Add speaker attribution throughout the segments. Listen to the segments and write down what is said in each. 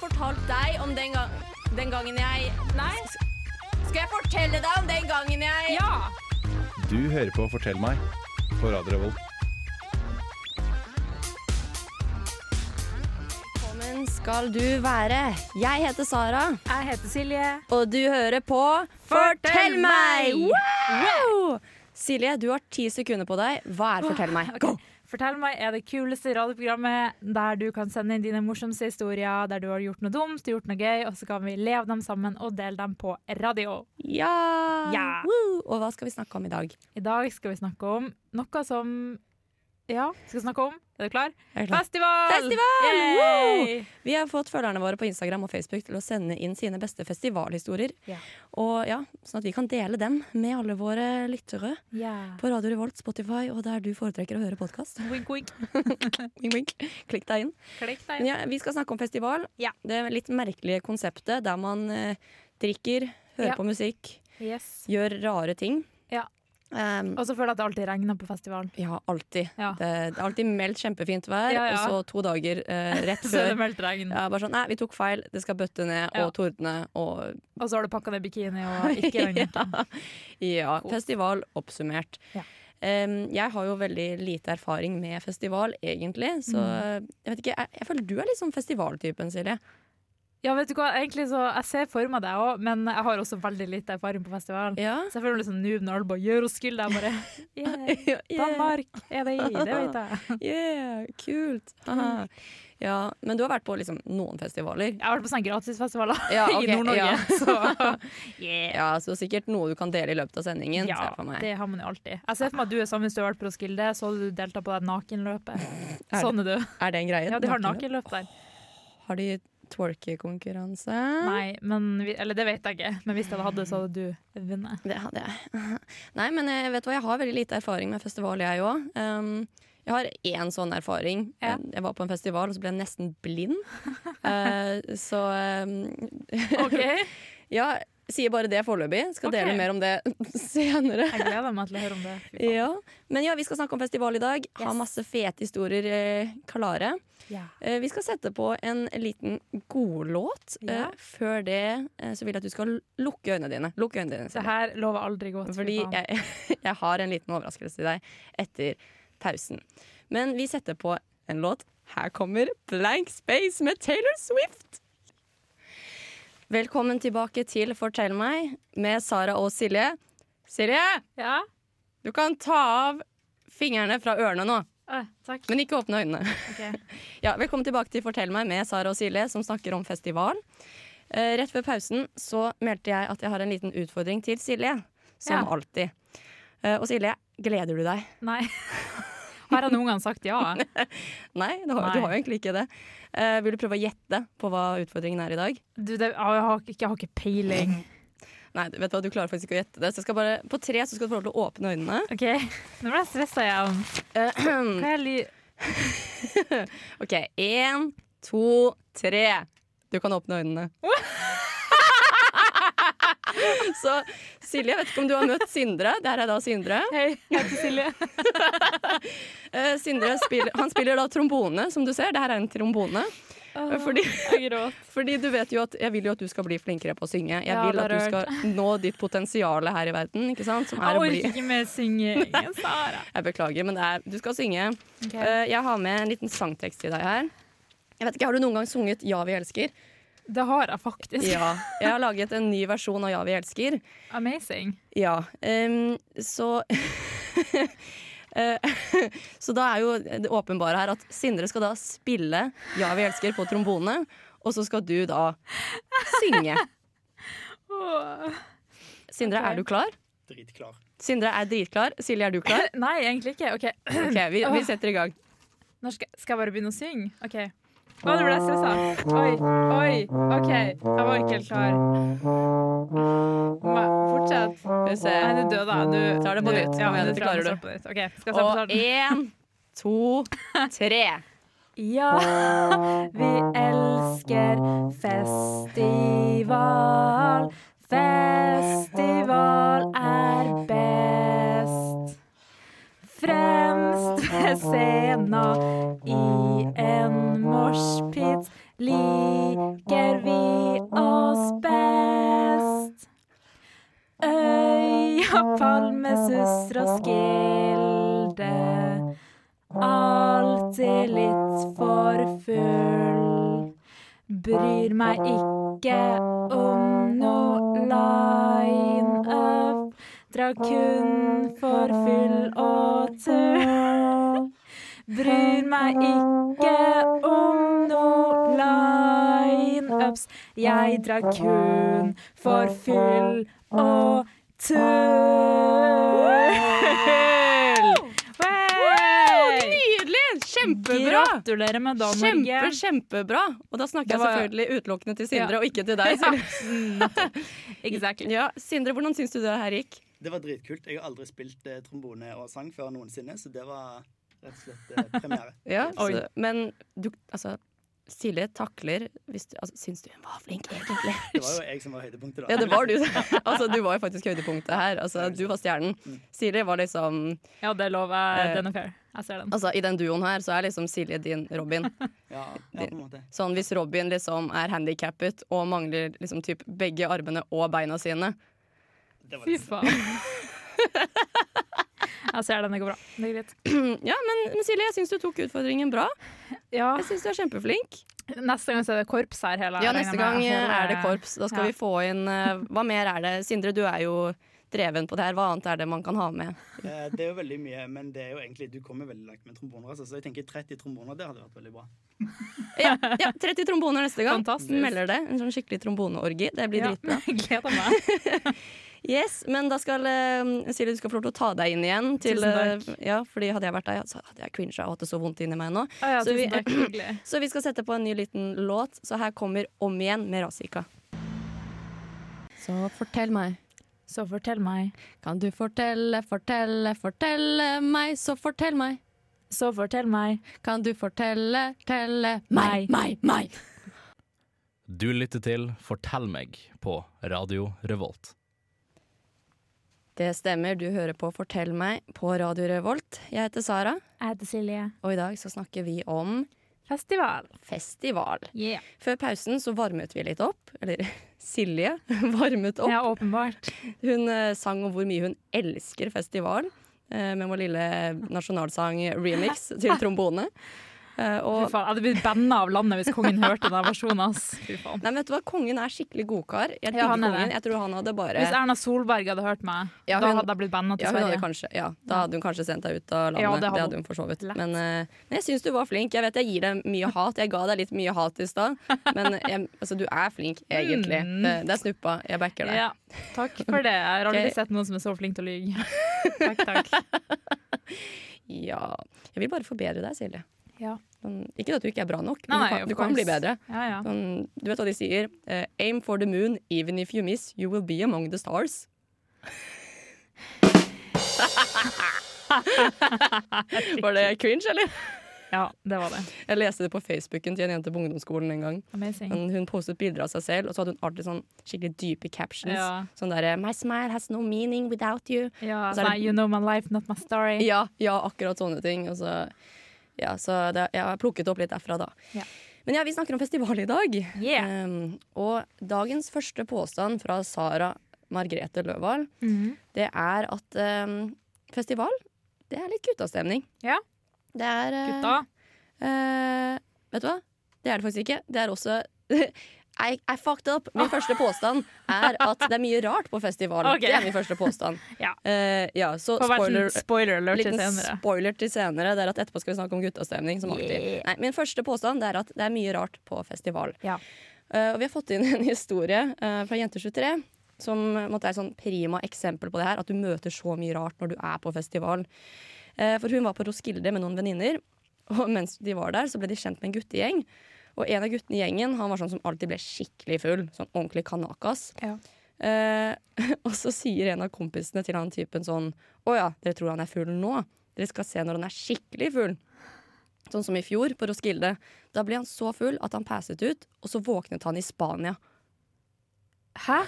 Speaker 1: fortalt deg om den, gang, den gangen jeg
Speaker 2: Nei?
Speaker 1: Skal jeg fortelle deg om den gangen jeg
Speaker 2: Ja!
Speaker 3: Du hører på Fortell meg på Radio Revolt.
Speaker 1: Velkommen skal du være. Jeg heter Sara,
Speaker 2: Jeg heter Silje.
Speaker 1: og du hører på
Speaker 2: Fortell meg!
Speaker 1: Wow! Silje, du har ti sekunder på deg. Hva er Fortell
Speaker 2: Ah,
Speaker 1: meg? Go!
Speaker 2: Fortell meg, er det kuleste radioprogrammet der du kan sende inn dine morsomste historier, der du har gjort noe dumt, gjort noe gøy, og så kan vi leve dem sammen og dele dem på radio.
Speaker 1: Ja!
Speaker 2: Ja.
Speaker 1: Woo! Og hva skal vi snakke om i dag?
Speaker 2: I dag skal vi snakke om noe som Ja, vi skal snakke om Er du klar?
Speaker 1: Er du klar?
Speaker 2: Festival!
Speaker 1: Festival!
Speaker 2: Yay!
Speaker 1: Vi har fått følgerne våre på Instagram og Facebook til å sende inn sine beste festivalhistorier.
Speaker 2: Ja.
Speaker 1: Og ja, Sånn at vi kan dele dem med alle våre lyttere
Speaker 2: Yeah.
Speaker 1: på Radio Revolt, Spotify og der du foretrekker å høre podkast.
Speaker 2: Wink, wink.
Speaker 1: Wink, wink. Klikk deg inn.
Speaker 2: Klikk deg
Speaker 1: Men
Speaker 2: inn.
Speaker 1: ja, vi skal snakke om festival.
Speaker 2: Ja.
Speaker 1: Det litt merkelige konseptet der man eh, drikker, hører
Speaker 2: Ja.
Speaker 1: på musikk,
Speaker 2: Yes.
Speaker 1: gjør rare ting.
Speaker 2: Ja.
Speaker 1: Ehm,
Speaker 2: Og så føler jeg at det alltid regner på festivalen.
Speaker 1: ja, alltid.
Speaker 2: Ja.
Speaker 1: Det, det er alltid meldt kjempefint vær,
Speaker 2: Ja, ja.
Speaker 1: og så to dager eh, rett
Speaker 2: Så er det
Speaker 1: før.
Speaker 2: meldt regn.
Speaker 1: Ja, bare sånn, Nei, vi tok feil. Det skal bøtte ned
Speaker 2: Ja.
Speaker 1: og tordne og
Speaker 2: Og så har du pakka ned bikini og ikke regnjakke.
Speaker 1: Ja, festival oppsummert.
Speaker 2: Ja.
Speaker 1: Em, jeg har jo veldig lite erfaring med festival, egentlig. Så
Speaker 2: Mm.
Speaker 1: jeg vet ikke, jeg, jeg føler du er litt sånn festivaltypen, Silje.
Speaker 2: Ja, vet du hva, egentlig så Jeg ser for meg deg òg, men jeg har også veldig lite erfaring på festivalen.
Speaker 1: Ja.
Speaker 2: Så jeg føler meg litt sånn noob når alle bare gjør oss skyld. Jeg bare yeah. Danmark er det i, det vet jeg.
Speaker 1: Yeah, kult.
Speaker 2: Mm.
Speaker 1: Haha. Ja, men du har vært på liksom noen festivaler.
Speaker 2: Jeg har vært på sånne gratisfestivaler
Speaker 1: Ja, ok,
Speaker 2: i Nord-Norge,
Speaker 1: ja.
Speaker 2: så yeah.
Speaker 1: Ja, Så sikkert noe du kan dele i løpet av sendingen. ser jeg for meg.
Speaker 2: det har man jo alltid. Jeg ser for meg at du er sammen hvis du har vært på Roskilde, så hadde du deltatt på det nakenløpet. Sånn er du.
Speaker 1: Er det en greie?
Speaker 2: Ja, de har
Speaker 1: Nakenløp?
Speaker 2: nakenløp der.
Speaker 1: Har de twerkekonkurranse?
Speaker 2: Nei, men vi, eller det vet jeg ikke. Men hvis jeg hadde hatt det, så hadde du vunnet.
Speaker 1: Det hadde jeg. Nei, men jeg vet hva, jeg har veldig lite erfaring med festival, jeg òg. Um, jeg har én sånn erfaring.
Speaker 2: Ja.
Speaker 1: Jeg var på en festival, og så ble jeg nesten blind. Eh, så um,
Speaker 2: OK, jeg
Speaker 1: ja, sier bare det foreløpig. Skal
Speaker 2: Ok.
Speaker 1: dele mer om det senere.
Speaker 2: gleder meg til å høre om det. Fy faen.
Speaker 1: Ja. Men ja, vi skal snakke om festival i dag. Har
Speaker 2: Yes.
Speaker 1: masse fete historier eh, klare.
Speaker 2: Ja.
Speaker 1: Eh, vi skal sette på en liten godlåt.
Speaker 2: Ja.
Speaker 1: Eh, før det eh, så vil jeg at du skal lukke øynene dine. Lukk øynene dine.
Speaker 2: Det
Speaker 1: Silje.
Speaker 2: her lover aldri godt. fy
Speaker 1: Fordi
Speaker 2: faen.
Speaker 1: jeg, jeg har en liten overraskelse til deg etter pausen. Men vi setter på en låt. Her kommer Blank Space med Taylor Swift. Velkommen tilbake til Fortell meg med Sara og Silje. Silje,
Speaker 2: Ja?
Speaker 1: du kan ta av fingrene fra ørene nå,
Speaker 2: Å, takk.
Speaker 1: men ikke åpne øynene.
Speaker 2: Ok.
Speaker 1: Ja, velkommen tilbake til Fortell meg med Sara og Silje, som snakker om festival. Eh, rett før pausen så meldte jeg at jeg har en liten utfordring til Silje, som
Speaker 2: Ja.
Speaker 1: alltid. Eh, og Silje, gleder du deg?
Speaker 2: Nei. Har jeg noen gang sagt ja?
Speaker 1: Nei, det har,
Speaker 2: Nei.
Speaker 1: du har jo egentlig ikke det. Eh, vil du prøve å gjette på hva utfordringen er i dag?
Speaker 2: Du, det, jeg, har ikke, jeg har ikke peiling.
Speaker 1: Nei, du vet hva, du klarer faktisk ikke å gjette det. Så jeg skal bare, på tre så skal du få lov til å åpne øynene.
Speaker 2: OK, nå ble jeg stressa igjen. Hva er ly...
Speaker 1: OK, én, to, tre. Du kan åpne øynene. Så Silje, jeg vet ikke om du har møtt Sindre. Der er da Sindre.
Speaker 2: Hei, jeg heter Silje.
Speaker 1: Eh, Sindre spiller, han spiller da trombone, som du ser. Det her er en trombone.
Speaker 2: Åh,
Speaker 1: Fordi-
Speaker 2: Jeg gråt.
Speaker 1: Fordi du vet jo at Jeg vil jo at du skal bli flinkere på å synge. Jeg
Speaker 2: Ja,
Speaker 1: vil
Speaker 2: det
Speaker 1: at du
Speaker 2: har jeg
Speaker 1: skal nå ditt potensial her i verden, ikke sant? Som
Speaker 2: Jeg
Speaker 1: er å
Speaker 2: orker
Speaker 1: bli
Speaker 2: ikke mer synging. Sara.
Speaker 1: Jeg beklager, men det er, du skal synge.
Speaker 2: Ok.
Speaker 1: Eh, jeg har med en liten sangtekst til deg her. Jeg vet ikke, Har du noen gang sunget 'Ja, vi elsker'?
Speaker 2: Det har jeg faktisk.
Speaker 1: Ja. Jeg har laget en ny versjon av 'Ja, vi elsker'.
Speaker 2: Amazing.
Speaker 1: Ja. ehm, så Eh, Så da er jo det åpenbare her at Sindre skal da spille 'Ja, vi elsker' på trombone, og så skal du da synge.
Speaker 2: Åh.
Speaker 1: Sindre,
Speaker 2: Ok.
Speaker 1: er du klar?
Speaker 4: Dritklar.
Speaker 1: Sindre er dritklar. Silje, er du klar?
Speaker 2: Eh, Nei, egentlig ikke. Ok,
Speaker 1: Ok, vi, vi setter i gang.
Speaker 2: Når skal, skal jeg bare begynne å synge? OK. Å, nå ble jeg stressa. Oi, oi. OK, jeg var ikke helt klar. Ma- Fortsett.
Speaker 1: Skal vi se.
Speaker 2: Nei, du døde, da. Du
Speaker 1: Tar det på
Speaker 2: du-
Speaker 1: nytt.
Speaker 2: Ja,
Speaker 1: Kom igjen,
Speaker 2: du
Speaker 1: det
Speaker 2: klarer
Speaker 1: klarer
Speaker 2: det.
Speaker 1: du.
Speaker 2: På nytt. OK, skal jeg starte på
Speaker 1: Og
Speaker 2: starten?
Speaker 1: én, to, tre.
Speaker 2: Ja, vi elsker festival. Festival er best. Fremst ved scena i en moshpit ligger full. Bryr meg ikke om noe line-up. Drar kun for fyll og tull. Bryr meg ikke om noe line-ups. Jeg drar kun for fyll og tull. Hey!
Speaker 1: Nydelig! Kjempebra!
Speaker 2: Gratulerer med dagen,
Speaker 1: Kjempe,
Speaker 2: Norge.
Speaker 1: kjempebra! Og da snakker
Speaker 2: Det var-
Speaker 1: jeg selvfølgelig utelukkende til Sindre,
Speaker 2: Ja.
Speaker 1: og ikke til deg. Sindre.
Speaker 2: Exactly.
Speaker 1: Ja, Sindre, hvordan syns du det her gikk?
Speaker 4: Det var dritkult. Jeg har aldri spilt eh, trombone og sang før noensinne, så det var rett og slett eh, premiere.
Speaker 1: Ja,
Speaker 2: Oi.
Speaker 1: så, men du, altså Silje takler hvis du, altså, Syns du hun var flink, egentlig?
Speaker 4: Det var jo jeg som var høydepunktet, da.
Speaker 1: Ja, det var du. Altså, du var jo faktisk høydepunktet her. Altså, du var stjernen. Silje var liksom
Speaker 2: Ja, det lover jeg.
Speaker 1: Eh.
Speaker 2: Den er fair. Jeg ser den.
Speaker 1: Altså, I den duoen her så er liksom Silje din Robin.
Speaker 4: Ja, ja, på en måte.
Speaker 1: Sånn Hvis Robin liksom er handikappet og mangler liksom typ begge armene og beina sine
Speaker 4: Det var
Speaker 2: Fy
Speaker 4: liksom-
Speaker 2: faen. Jeg ser den. Det går bra. Det er greit.
Speaker 1: Ja, men, men Silje, jeg syns du tok utfordringen bra.
Speaker 2: Ja,
Speaker 1: Jeg syns du er kjempeflink.
Speaker 2: neste gang så er det korps her. Hele,
Speaker 1: Ah. Ja,
Speaker 2: regner
Speaker 1: Neste
Speaker 2: med.
Speaker 1: gang eh,
Speaker 2: Hele-
Speaker 1: er det korps. Da skal
Speaker 2: Ja.
Speaker 1: vi få inn eh, Hva mer er det? Sindre, du er jo dreven på det her. Hva annet er det man kan ha med?
Speaker 4: Eh, Det er jo veldig mye, men det er jo egentlig, du kommer veldig langt med tromboner. Altså, så jeg tenker 30 tromboner, det hadde vært veldig bra.
Speaker 1: Ja, ja 30 tromboner neste gang.
Speaker 2: Fantastisk.
Speaker 1: Melder det. En sånn skikkelig tromboneorgi. Det blir
Speaker 2: Ja,
Speaker 1: dritbra.
Speaker 2: jeg gleder meg.
Speaker 1: Yes, men da skal eh, Silje, du skal få lov til å ta deg inn igjen. Til,
Speaker 2: Tusen
Speaker 1: eh, ja, fordi hadde jeg vært deg, så hadde jeg cringa og hatt det så vondt inni meg nå.
Speaker 2: Å, ja,
Speaker 1: Så vi-
Speaker 2: tusen takk. Hyggelig.
Speaker 1: Så vi skal sette på en ny liten låt, så her kommer Om igjen med Razika. Så fortell meg,
Speaker 2: Så fortell meg,
Speaker 1: kan du fortelle, fortelle, fortelle meg, så fortell meg.
Speaker 2: så fortell meg.
Speaker 1: Kan du fortelle, telle
Speaker 2: meg,
Speaker 1: meg, meg.
Speaker 5: Du lytter til Fortell meg på Radio Revolt.
Speaker 1: Det stemmer, du hører på Fortell meg på Radio Revolt. Jeg heter Sara,
Speaker 2: Jeg heter Silje.
Speaker 1: og i dag så snakker vi om
Speaker 2: Festival.
Speaker 1: festival.
Speaker 2: Yeah.
Speaker 1: Før pausen så varmet vi litt opp. Eller Silje varmet opp.
Speaker 2: Ja, åpenbart.
Speaker 1: Hun eh, sang om hvor mye hun elsker festival eh, med vår lille nasjonalsang-remix til trombone. Eh,
Speaker 2: Fy
Speaker 1: og
Speaker 2: faen. Jeg hadde blitt banna av landet hvis kongen hørte den versjonen. ass. Fy faen.
Speaker 1: Nei, vet du hva? Kongen er skikkelig godkar. Jeg digger
Speaker 2: Ja, han er
Speaker 1: kongen.
Speaker 2: det.
Speaker 1: Jeg tror han hadde bare
Speaker 2: Hvis Erna Solberg hadde hørt meg,
Speaker 1: Ja,
Speaker 2: da
Speaker 1: hun-
Speaker 2: hadde jeg blitt banna til
Speaker 1: ja, hun hadde
Speaker 2: Sverige.
Speaker 1: kanskje, ja, Da hadde hun kanskje sendt deg ut av landet.
Speaker 2: Ja, det
Speaker 1: det,
Speaker 2: hadde
Speaker 1: hadde
Speaker 2: hun
Speaker 1: hun for så vidt.
Speaker 2: lett.
Speaker 1: Men, eh, men jeg syns du var flink. Jeg vet jeg gir deg mye hat. Jeg ga deg litt mye hat i stad, men jeg, altså, du er flink, egentlig.
Speaker 2: Mm.
Speaker 1: Det, det er snuppa. Jeg backer deg.
Speaker 2: Ja, takk for det. Jeg har aldri
Speaker 1: Ok.
Speaker 2: sett noen som er så flink til å lyge. Takk, takk.
Speaker 1: Ja. Jeg vil bare forbedre deg, Silje.
Speaker 2: Ja.
Speaker 1: Sånn, ikke at du ikke er bra nok, men
Speaker 2: Nei, nei,
Speaker 1: du,
Speaker 2: of
Speaker 1: kan, du kan
Speaker 2: course.
Speaker 1: bli bedre.
Speaker 2: Ja, ja.
Speaker 1: Sånn, du vet hva de sier? Eh, aim for the moon, even if you miss, you will be among the stars. Var det cringe, eller?
Speaker 2: ja, det var det.
Speaker 1: Jeg leste det på Facebooken til en jente på ungdomsskolen en gang.
Speaker 2: Amazing.
Speaker 1: Men Hun postet bilder av seg selv, og så hadde hun alltid sånn skikkelig dype captions.
Speaker 2: Ja.
Speaker 1: Sånn derre My smile has no meaning without you.
Speaker 2: Ja,
Speaker 1: Og så er det-
Speaker 2: nei, you know my life, not my story.
Speaker 1: Ja, ja, akkurat sånne ting. Og så, ja, så det, jeg har plukket opp litt derfra, da.
Speaker 2: Ja.
Speaker 1: Men ja, vi snakker om festival i dag.
Speaker 2: Yeah.
Speaker 1: Um, og dagens første påstand fra Sara Margrethe Løvahl,
Speaker 2: Mhm.
Speaker 1: det er at um, festival, det er litt guttastemning.
Speaker 2: Ja.
Speaker 1: Det er uh,
Speaker 2: Gutta.
Speaker 1: eh, Vet du hva? Det er det faktisk ikke. Det er også I, I fucked up. Min første påstand er at det er mye rart på festival.
Speaker 2: Ah. Ok.
Speaker 1: Det er min første påstand.
Speaker 2: Ja.
Speaker 1: Eh, ja så
Speaker 2: Får vært
Speaker 1: spoiler
Speaker 2: en spoiler alert til
Speaker 1: Liten
Speaker 2: senere.
Speaker 1: spoiler til senere. Det er at Etterpå skal vi snakke om guttastemning. Som alltid.
Speaker 2: Yeah.
Speaker 1: Nei, min første påstand det er at det er mye rart på festival.
Speaker 2: Ja.
Speaker 1: Eh, og vi har fått inn en historie eh, fra Jente23 som eh, måtte er et sånn prima eksempel på det her. At du møter så mye rart når du er på festival. Eh, for hun var på Roskilde med noen venninner, og mens de var der, så ble de kjent med en guttegjeng. Og en av guttene i gjengen han var sånn som alltid ble skikkelig full. Sånn ordentlig kanakas.
Speaker 2: Ja.
Speaker 1: Eh, og så sier en av kompisene til han typen sånn Å ja, dere tror han er full nå? Dere skal se når han er skikkelig full. Sånn som i fjor, på Roskilde. Da ble han så full at han passet ut, og så våknet han i Spania.
Speaker 2: Hæ?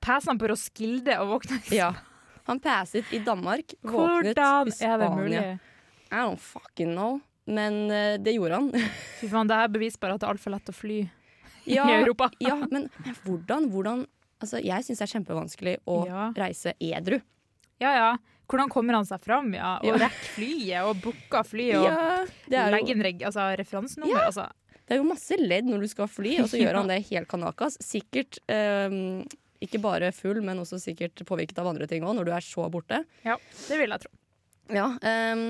Speaker 2: Passer han på Roskilde og våkner i
Speaker 1: Ja. Han passet i Danmark, våknet
Speaker 2: Hvordan
Speaker 1: i Spania.
Speaker 2: er det mulig?
Speaker 1: I don't fucking know. Men eh, det gjorde han.
Speaker 2: Fy faen, det her beviser bare at det er altfor lett å fly i
Speaker 1: ja,
Speaker 2: Europa.
Speaker 1: ja, men, men hvordan? hvordan altså, jeg syns det er kjempevanskelig å
Speaker 2: Ja.
Speaker 1: reise edru.
Speaker 2: Ja ja. Hvordan kommer han seg fram? Ja, og
Speaker 1: Ja.
Speaker 2: rekker flyet, og booker flyet, og
Speaker 1: Ja, det er jo,
Speaker 2: legger inn reg altså, referansenummer. Altså.
Speaker 1: det er jo masse ledd når du skal fly, og så gjør han det helt kanakas. Sikkert eh, ikke bare full, men også sikkert påvirket av andre ting òg, når du er så borte.
Speaker 2: Ja, det vil jeg tro.
Speaker 1: Ja, ehm,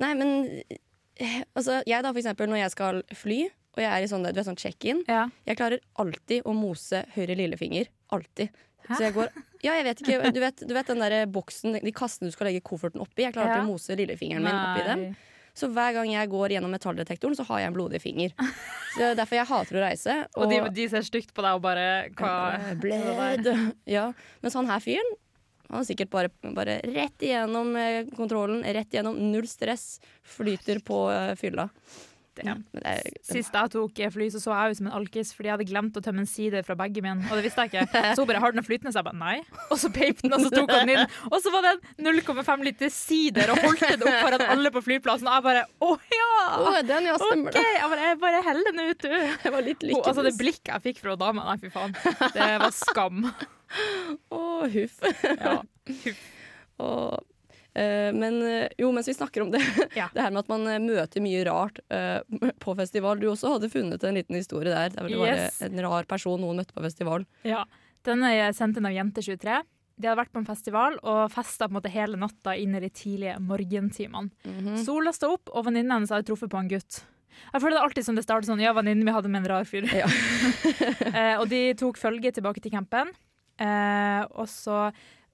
Speaker 1: nei, men eh, altså, jeg da, for eksempel, når jeg skal fly, og jeg er i sånn, du vet, sånn check-in,
Speaker 2: Ja.
Speaker 1: jeg klarer alltid å mose høyre lillefinger. Alltid.
Speaker 2: Hæ?
Speaker 1: Så jeg går Ja, jeg vet ikke. Du vet, du vet den der boksen, de kassene du skal legge kofferten oppi? Jeg klarer
Speaker 2: Ja.
Speaker 1: alltid å mose lillefingeren min oppi dem.
Speaker 2: Nei.
Speaker 1: Så hver gang jeg går gjennom metalldetektoren, så har jeg en blodig finger. Så det er derfor jeg hater å reise.
Speaker 2: Og de, de ser stygt på deg og bare hva?
Speaker 1: Eh, Bled. Ja. Mens han her fyren, han er sikkert bare, bare rett igjennom eh, kontrollen, rett igjennom, null stress, flyter på eh, fylla.
Speaker 2: Det-
Speaker 1: Men det er,
Speaker 2: Sist jeg tok fly, så så jeg ut som en alkis fordi jeg hadde glemt å tømme en side fra bagen min. Og det visste jeg ikke. Så hun bare 'har du noe flytende?' Så jeg bare 'nei'. Og så peip den, og så tok han den inn. Og så var det en 0,5 liter sider og holdt den opp foran alle på flyplassen. Og jeg bare 'å ja'.
Speaker 1: Å, den, ja, stemmer
Speaker 2: OK!
Speaker 1: det.
Speaker 2: Jeg bare, jeg bare heller den ut, du.
Speaker 1: Det var litt
Speaker 2: Hun-
Speaker 1: lykkebrus.
Speaker 2: altså, det blikket jeg fikk fra dama, nei, fy faen. Det var skam.
Speaker 1: Å, huff.
Speaker 2: Ja.
Speaker 1: Og, eh, men eh, jo, mens vi snakker om det,
Speaker 2: Ja.
Speaker 1: det her med at man eh, møter mye rart eh, på festival. Du også hadde funnet en liten historie der. Det var
Speaker 2: Yes.
Speaker 1: en rar person noen møtte på festival.
Speaker 2: Ja. Den er sendt inn av Jente23. De hadde vært på en festival og festa på en måte hele natta inn i de tidlige morgentimene.
Speaker 1: Mhm.
Speaker 2: Sola sto opp, og venninnen hennes hadde truffet på en gutt. Jeg føler det er alltid som det starter sånn Ja, venninnen min hadde med en rar fyr.
Speaker 1: Ja.
Speaker 2: Eh, og de tok følge tilbake til campen. Eh, og så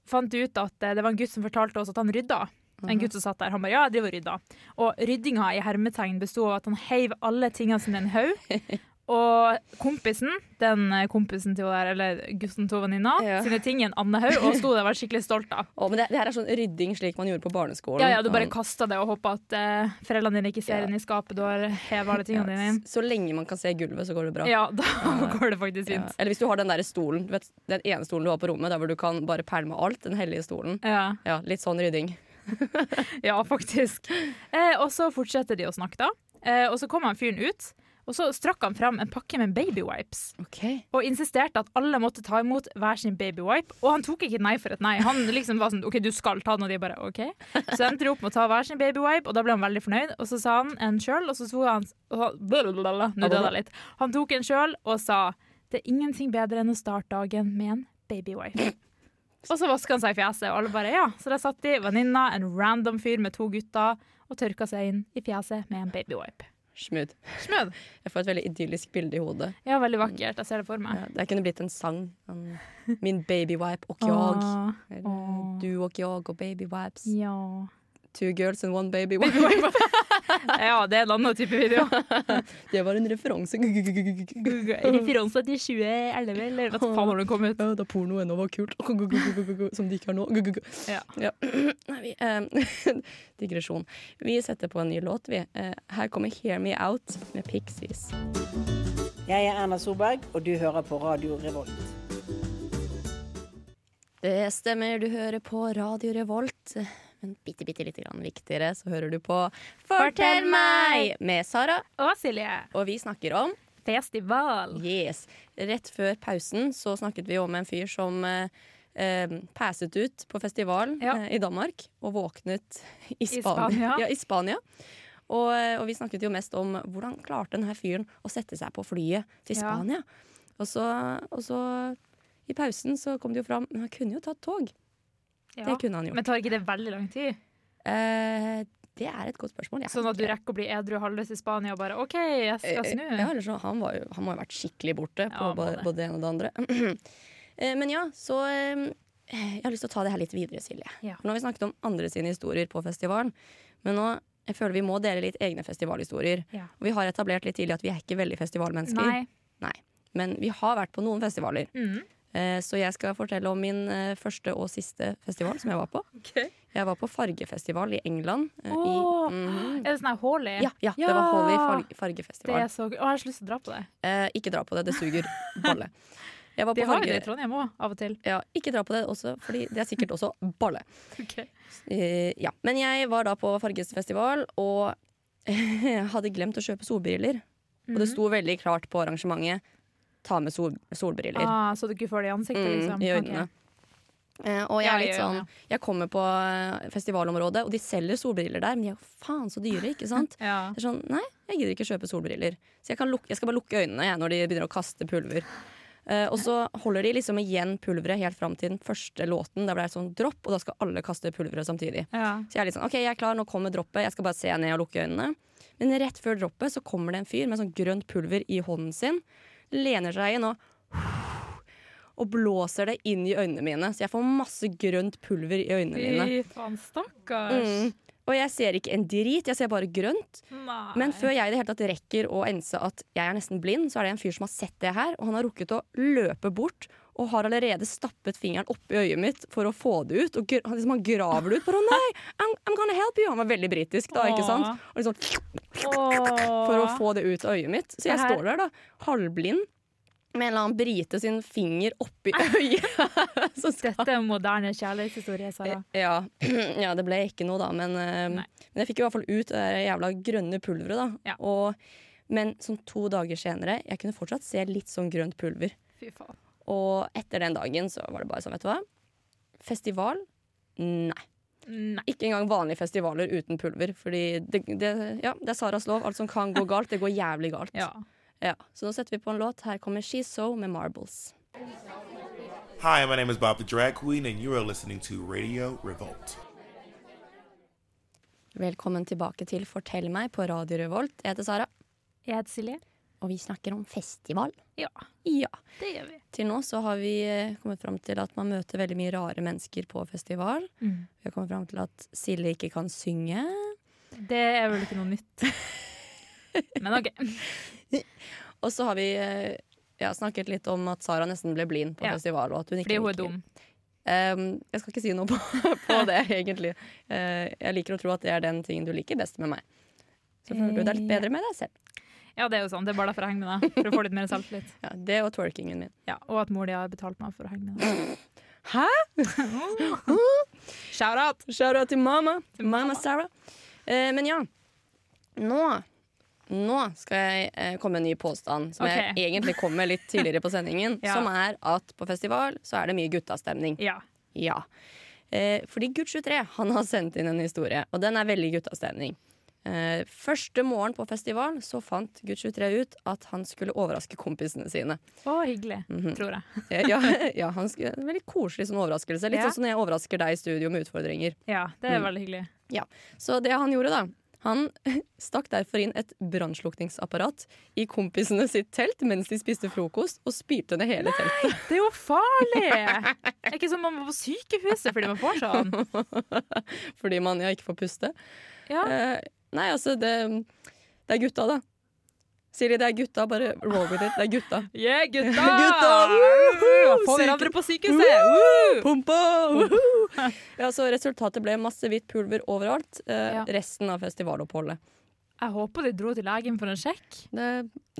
Speaker 2: fant de ut at eh, det var en gutt som fortalte oss at han rydda.
Speaker 1: Mhm.
Speaker 2: En gutt som satt der. Han bare ja, jeg driver og rydda. Og ryddinga i hermetegn besto av at han heiv alle tingene sine i en haug. Og kompisen, den eh, kompisen til hun der, eller gutten til venninna,
Speaker 1: Ja.
Speaker 2: sine ting i en annen haug, og sto der og var skikkelig stolt av.
Speaker 1: Å, men det, det her er sånn rydding slik man gjorde på barneskolen.
Speaker 2: Ja, ja, du bare
Speaker 1: Sånn,
Speaker 2: kasta det og håpa at eh, foreldrene dine ikke ser
Speaker 1: Ja.
Speaker 2: inn i skapet, du har heva
Speaker 1: ja,
Speaker 2: alle tingene dine inn.
Speaker 1: s- Så lenge man kan se gulvet, så går det bra.
Speaker 2: Ja, da går det faktisk
Speaker 1: Ja.
Speaker 2: fint.
Speaker 1: Eller hvis du har den der stolen, du vet, den ene stolen du har på rommet, der hvor du kan bare pælme alt. Den hellige stolen.
Speaker 2: Ja.
Speaker 1: Ja, litt sånn rydding.
Speaker 2: Ja, faktisk. Eh, og så fortsetter de å snakke, da. Eh, og så kom han fyren ut, og så strakk han fram en pakke med babywipes.
Speaker 1: Ok.
Speaker 2: Og insisterte at alle måtte ta imot hver sin babywipe. Og han tok ikke nei for et nei. Han liksom var sånn OK, du skal ta den, og de bare OK. Så endte de opp med å ta hver sin babywipe, og da ble han veldig fornøyd. Og så sa han en sjøl, og så tok han og han- blablabla, Nå døde jeg litt. Han tok en sjøl og sa det er ingenting bedre enn å starte dagen med en babywipe. Og så vaska han seg i fjeset, og alle bare ja. Så der satt de, venninna, en random fyr med to gutter, og tørka seg inn i fjeset med en babywipe.
Speaker 1: Smooth.
Speaker 2: Smooth.
Speaker 1: Jeg får et veldig idyllisk bilde i hodet.
Speaker 2: Ja, veldig vakkert. Jeg ser det for meg.
Speaker 1: Ja, det kunne blitt en sang. Sånn, Min babywipe og jag.
Speaker 2: Åh,
Speaker 1: Eller,
Speaker 2: Åh.
Speaker 1: Du og jeg og baby wipes.
Speaker 2: ja.
Speaker 1: Two girls and one Mm. baby wipe.
Speaker 2: Ja, det er en annen type video.
Speaker 1: Det var en referanse.
Speaker 2: Referanse til 2011, eller hva faen når den kom ut.
Speaker 1: Ja, da porno ennå var kult, som det ikke er nå.
Speaker 2: Ja.
Speaker 1: Ja. Nei, vi, eh, digresjon. Vi setter på en ny låt, vi. Eh, her kommer 'Hear Me Out' med Pixies.
Speaker 6: Jeg er Erna Solberg, og du hører på Radio Revolt.
Speaker 1: Det stemmer, du hører på Radio Revolt. Men bitte, bitte lite grann viktigere så hører du på Fortell meg med Sara.
Speaker 2: Å, Silje.
Speaker 1: Og vi snakker om
Speaker 2: Festival.
Speaker 1: Yes. Rett før pausen så snakket vi om en fyr som eh, eh, passet ut på festival
Speaker 2: Ja.
Speaker 1: eh, i Danmark og våknet i Spania.
Speaker 2: Spania.
Speaker 1: Ja, i Spania. Og, eh, og vi snakket jo mest om hvordan klarte denne fyren å sette seg på flyet til
Speaker 2: Ja.
Speaker 1: Spania. Og, så, og så i pausen så kom det jo fram Men han kunne jo tatt tog.
Speaker 2: Ja.
Speaker 1: Det kunne han gjort.
Speaker 2: Men tar ikke det veldig lang tid?
Speaker 1: Eh, det er et godt spørsmål. Jeg
Speaker 2: Sånn at du
Speaker 1: kan ikke-
Speaker 2: rekker å bli edru halvveis i Spania og bare OK, jeg skal
Speaker 1: Eh,
Speaker 2: snu.
Speaker 1: Ja, eller så, han, var jo, han må ha vært skikkelig borte på
Speaker 2: Ja, han må
Speaker 1: ba-
Speaker 2: det.
Speaker 1: både det ene og det andre. Eh, Men ja, så eh, Jeg har lyst til å ta det her litt videre, Silje.
Speaker 2: Ja.
Speaker 1: For nå har vi snakket om andre sine historier på festivalen. Men nå jeg føler vi må dele litt egne festivalhistorier.
Speaker 2: Ja.
Speaker 1: Og vi har etablert litt tidlig at vi er ikke veldig festivalmennesker.
Speaker 2: Nei.
Speaker 1: Men vi har vært på noen festivaler.
Speaker 2: Mm.
Speaker 1: Eh, Så jeg skal fortelle om min eh, første og siste festival som jeg var på. Jeg var på fargefestival i England. eh,
Speaker 2: Åh,
Speaker 1: I, Mhm.
Speaker 2: Er det sånn her Hawley?
Speaker 1: ja, ja, det
Speaker 2: Ja!
Speaker 1: var Holly farg
Speaker 2: Det
Speaker 1: fargefestival.
Speaker 2: er så gøy. Å, jeg har så lyst til å dra på det.
Speaker 1: Eh, ikke dra på det, det suger balle. Jeg var
Speaker 2: De
Speaker 1: på
Speaker 2: har jo det i
Speaker 1: farge...
Speaker 2: Trondheim òg, av og til.
Speaker 1: Ja, ikke dra på det også, fordi det er sikkert også balle. Eh, ja. Men jeg var da på Fargesfestival og hadde glemt å kjøpe solbriller. Og det
Speaker 2: Mhm.
Speaker 1: sto veldig klart på arrangementet 'ta med sol solbriller'
Speaker 2: Ah, så du ikke får Ah, det i ansiktet,
Speaker 1: mm,
Speaker 2: liksom?
Speaker 1: i
Speaker 2: Ok.
Speaker 1: øynene. Eh, og jeg
Speaker 2: Ja,
Speaker 1: er litt
Speaker 2: jeg gjør
Speaker 1: sånn
Speaker 2: det,
Speaker 1: Jeg kommer på eh, festivalområdet, og de selger solbriller der, men de er jo faen så dyre, ikke sant?
Speaker 2: Ja.
Speaker 1: Det er sånn, Nei, jeg gidder ikke kjøpe solbriller. Så jeg, kan lukke, jeg skal bare lukke øynene jeg, når de begynner å kaste pulver. Eh, og så holder de liksom igjen pulveret helt fram til den første låten. Der blir det sånn dropp, og da skal alle kaste pulveret samtidig.
Speaker 2: Ja.
Speaker 1: Så jeg er litt sånn, ok, jeg er klar, nå kommer droppet, jeg skal bare se ned og lukke øynene. Men rett før droppet så kommer det en fyr med sånn grønt pulver i hånden sin, lener seg inn og, og blåser det inn i øynene mine. Så jeg får masse grønt pulver i øynene mine.
Speaker 2: Fy faen, stakkars.
Speaker 1: Mm. Og jeg ser ikke en drit, jeg ser bare grønt.
Speaker 2: Nei.
Speaker 1: Men før jeg i det hele tatt rekker å ense at jeg er nesten blind, så er det en fyr som har sett det her, og han har rukket å løpe bort. Og har allerede stappet fingeren oppi øyet mitt for å få det ut. Og gr- han liksom, han graver det ut. Bare, «Å nei, I'm, I'm gonna help you Han var veldig britisk, da. ikke sant? Og liksom, for å få det ut av øyet mitt. Så
Speaker 2: Det
Speaker 1: jeg
Speaker 2: her-
Speaker 1: står der, da, halvblind, med en eller annen brite sin finger oppi øyet. Så skal
Speaker 2: Dette er en moderne kjærlighetshistorie, Sara.
Speaker 1: Eh, ja. ja, det ble ikke noe da, men, eh,
Speaker 2: Nei.
Speaker 1: men jeg fikk i hvert fall ut det der jævla grønne pulveret. da.
Speaker 2: Ja.
Speaker 1: Og, men sånn to dager senere, jeg kunne fortsatt se litt sånn grønt pulver.
Speaker 2: Eh, Fy faen.
Speaker 1: Og etter den dagen så var det bare sånn, vet du hva. Festival? Nei.
Speaker 2: Nei.
Speaker 1: Ikke engang vanlige festivaler uten pulver. Fordi det, det, ja, det er Saras lov. Alt som kan gå galt, det går jævlig galt.
Speaker 2: Ja.
Speaker 1: Ja, Så nå setter vi på en låt. Her kommer She's So med Marbles.
Speaker 7: Hi, my name is Bob the Drag Queen, and you are listening to Radio Revolt.
Speaker 1: Velkommen tilbake til Fortell meg på Radio Revolt. Jeg heter Sara,
Speaker 2: Jeg heter Silje.
Speaker 1: og vi snakker om festival.
Speaker 2: Ja,
Speaker 1: Ja.
Speaker 2: det gjør vi.
Speaker 1: Til nå så har vi eh, kommet fram til at man møter veldig mye rare mennesker på festival.
Speaker 2: Mm.
Speaker 1: Vi har kommet fram til at Silje ikke kan synge.
Speaker 2: Det er vel ikke noe nytt. Men OK.
Speaker 1: Og så har vi eh, ja, snakket litt om at Sara nesten ble blind på
Speaker 2: Ja.
Speaker 1: festival. Og at hun ikke
Speaker 2: Fordi hun er
Speaker 1: liker-
Speaker 2: dum.
Speaker 1: Ehm, jeg skal ikke si noe på, på det, egentlig. Eh, jeg liker å tro at det er den tingen du liker best med meg. Så føler du det er litt
Speaker 2: Eh,
Speaker 1: bedre med deg selv.
Speaker 2: Ja, det er jo sånn. Det er bare derfor jeg henger med deg. For å få litt mer selvtillit.
Speaker 1: Ja, det og twerkingen min.
Speaker 2: Ja, og at mor di har betalt meg for å henge med deg.
Speaker 1: Hæ?
Speaker 2: Shout-out!
Speaker 1: Shout-out Mm. til mamma.
Speaker 2: Til mamma.
Speaker 1: Mamma Sarah. Eh, men ja, nå nå skal jeg eh, komme med en ny påstand, som
Speaker 2: Ok.
Speaker 1: jeg egentlig kom med litt tidligere på sendingen.
Speaker 2: Ja.
Speaker 1: Som er at på festival så er det mye guttastemning.
Speaker 2: Ja.
Speaker 1: Ja. Eh, fordi Gutt23 han har sendt inn en historie, og den er veldig guttastemning. Eh, første morgen på festival så fant Gutt23 ut at han skulle overraske kompisene sine.
Speaker 2: Å, hyggelig. Tror jeg.
Speaker 1: Eh, ja, ja, han skulle, en veldig koselig sånn overraskelse. Litt
Speaker 2: Ja.
Speaker 1: sånn som når jeg overrasker deg i studio med utfordringer.
Speaker 2: Ja, det er veldig hyggelig.
Speaker 1: Så det han gjorde da han stakk derfor inn et brannslukningsapparat i kompisene sitt telt mens de spiste frokost, og spylte ned hele teltet.
Speaker 2: Det er jo farlig! Det er ikke som om man var på sykehuset fordi man får sånn.
Speaker 1: Fordi man ja, ikke får puste.
Speaker 2: Ja.
Speaker 1: Eh, nei, altså, det, det er gutta, da. Silje, det er gutta. Bare roll with it. Det er gutta.
Speaker 2: Yeah, gutta!
Speaker 1: Gutta, woohoo!
Speaker 2: Få hverandre på sykehuset!
Speaker 1: Woo! Pumpa! Woohoo! Ja, så resultatet ble masse hvitt pulver overalt eh,
Speaker 2: Ja.
Speaker 1: resten av festivaloppholdet.
Speaker 2: Jeg håper de dro til legen for en sjekk.
Speaker 1: Det,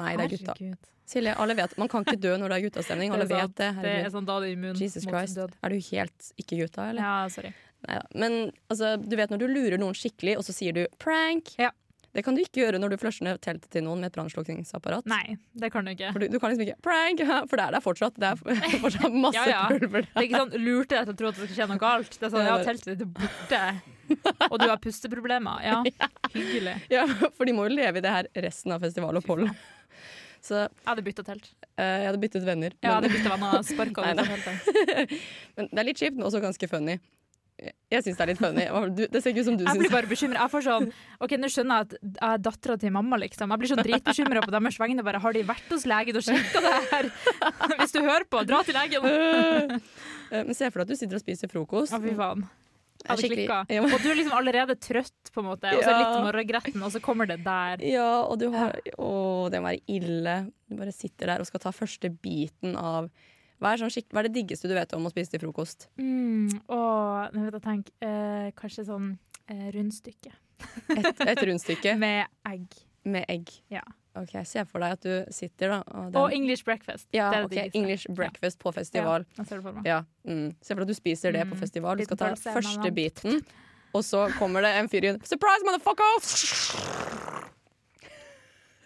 Speaker 1: nei, det er gutta.
Speaker 2: Herregud.
Speaker 1: Silje, alle vet, Man kan ikke dø når det er guttastemning. Alle
Speaker 2: Det er
Speaker 1: vet
Speaker 2: sant.
Speaker 1: det.
Speaker 2: Det
Speaker 1: Herregud.
Speaker 2: er sånn da det er immun
Speaker 1: Jesus
Speaker 2: mot
Speaker 1: Christ.
Speaker 2: død.
Speaker 1: Er du helt ikke gutta, eller?
Speaker 2: Ja, sorry.
Speaker 1: Neida. Men altså, du vet når du lurer noen skikkelig, og så sier du 'prank'.
Speaker 2: Ja.
Speaker 1: Det kan du ikke gjøre når du flusher ned teltet til noen med et brannslukningsapparat.
Speaker 2: Nei, det kan du ikke.
Speaker 1: For du, du kan liksom ikke 'prank', for det er der fortsatt. Det er fortsatt masse
Speaker 2: Ja, ja.
Speaker 1: pulver
Speaker 2: Det
Speaker 1: der.
Speaker 2: er ikke sånn lurte deg til å tro at det skal skje noe galt. Det er sånn, ja, teltet ditt er borte. Og du har pusteproblemer. Ja, hyggelig.
Speaker 1: Ja, for de må jo leve i det her resten av festivaloppholdet. Så
Speaker 2: Jeg hadde bytta telt.
Speaker 1: eh, jeg hadde byttet venner. men,
Speaker 2: Jeg hadde bytta venner og sparka
Speaker 1: Nei,
Speaker 2: ut
Speaker 1: nei.
Speaker 2: av teltet.
Speaker 1: men det er litt kjipt, men også ganske funny. Jeg- Jeg syns det er litt funny. Hva- Du, det ser ikke ut som du
Speaker 2: Jeg
Speaker 1: syns
Speaker 2: blir bare bekymra. Jeg får sånn OK, nå skjønner jeg at jeg er dattera til mamma, liksom. Jeg blir sånn dritbekymra på deres vegne. Bare har de vært hos legen og sjekka det her? Hvis du hører på, dra til legen!
Speaker 1: Eh, Men se for deg at du sitter og spiser frokost.
Speaker 2: Ja, fy faen. Jeg hadde
Speaker 1: Skikkelig-
Speaker 2: klikka.
Speaker 1: Ja, men-
Speaker 2: Og du er liksom allerede trøtt, på en måte, og så
Speaker 1: Ja.
Speaker 2: litt morgengretten, og så kommer det der.
Speaker 1: Ja, og du har Å, det må være ille. Du bare sitter der og skal ta første biten av Hva er, sånn skikk- hva er det diggeste du vet om å spise til frokost?
Speaker 2: Mm, og nå vet jeg tenk, eh, kanskje sånn eh, rundstykke
Speaker 1: Et, et rundstykke
Speaker 2: med egg.
Speaker 1: med egg.
Speaker 2: Ja.
Speaker 1: Ok, Se for deg at du sitter, da. Og, den-
Speaker 2: Og English breakfast.
Speaker 1: ja,
Speaker 2: det er det
Speaker 1: ok,
Speaker 2: diggeste.
Speaker 1: English breakfast på festival.
Speaker 2: Ja, jeg ser det for meg.
Speaker 1: Ja. Mm. Se for deg at du spiser det på
Speaker 2: Mm.
Speaker 1: festival. Du
Speaker 2: Liten
Speaker 1: skal ta
Speaker 2: pølse,
Speaker 1: første
Speaker 2: banan.
Speaker 1: biten, og så kommer det en fyr inn. Surprise, motherfucker!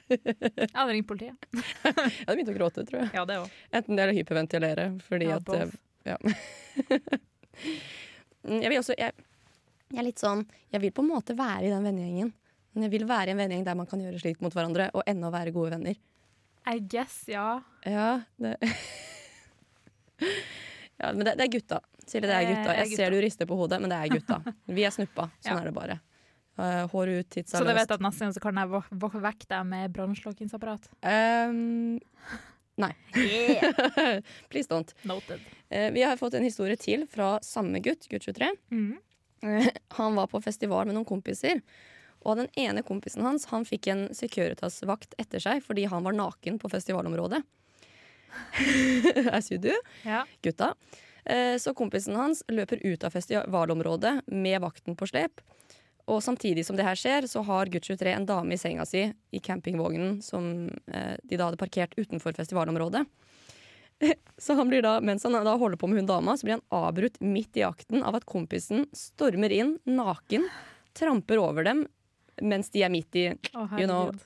Speaker 2: Jeg hadde ringt politiet.
Speaker 1: Jeg hadde begynt å gråte, tror jeg.
Speaker 2: Ja, det òg.
Speaker 1: eh, Enten det eller hyperventilere. Fordi
Speaker 2: Ja,
Speaker 1: at
Speaker 2: both.
Speaker 1: eh, ja. Mm, Jeg vil også jeg, jeg er litt sånn Jeg vil på en måte være i den vennegjengen. Men jeg vil være i en vennegjeng der man kan gjøre slikt mot hverandre og ennå være gode venner. eh,
Speaker 2: I guess, ja.
Speaker 1: Ja, det ja, Men det, det er gutta. Silje, det er
Speaker 2: Det
Speaker 1: gutta.
Speaker 2: er
Speaker 1: Jeg
Speaker 2: gutta.
Speaker 1: ser du rister på hodet, men det er gutta. Vi er snuppa. Sånn
Speaker 2: Ja.
Speaker 1: er det bare. Eh, hår ut, titsa
Speaker 2: Så du
Speaker 1: løst.
Speaker 2: vet at neste gang så kan jeg vå- vå- vekke deg med brannslukkingsapparat?
Speaker 1: Ehm, nei. Please don't.
Speaker 2: Noted.
Speaker 1: Eh, vi har fått en historie til fra samme gutt, gutt 23.
Speaker 2: Mhm.
Speaker 1: Eh, han var på festival med noen kompiser. Og den ene kompisen hans han fikk en Securitas-vakt etter seg fordi han var naken på festivalområdet. I see you
Speaker 2: Ja.
Speaker 1: gutta. Eh, Så kompisen hans løper ut av festivalområdet med vakten på slep. Og samtidig som det her skjer, så har gutt 23 en dame i senga si i campingvognen som eh, de da hadde parkert utenfor festivalområdet. Så han blir da, mens han da holder på med hun dama, så blir han avbrutt midt i akten av at kompisen stormer inn naken, tramper over dem mens de er midt i,
Speaker 2: Å,
Speaker 1: You know.
Speaker 2: herregud.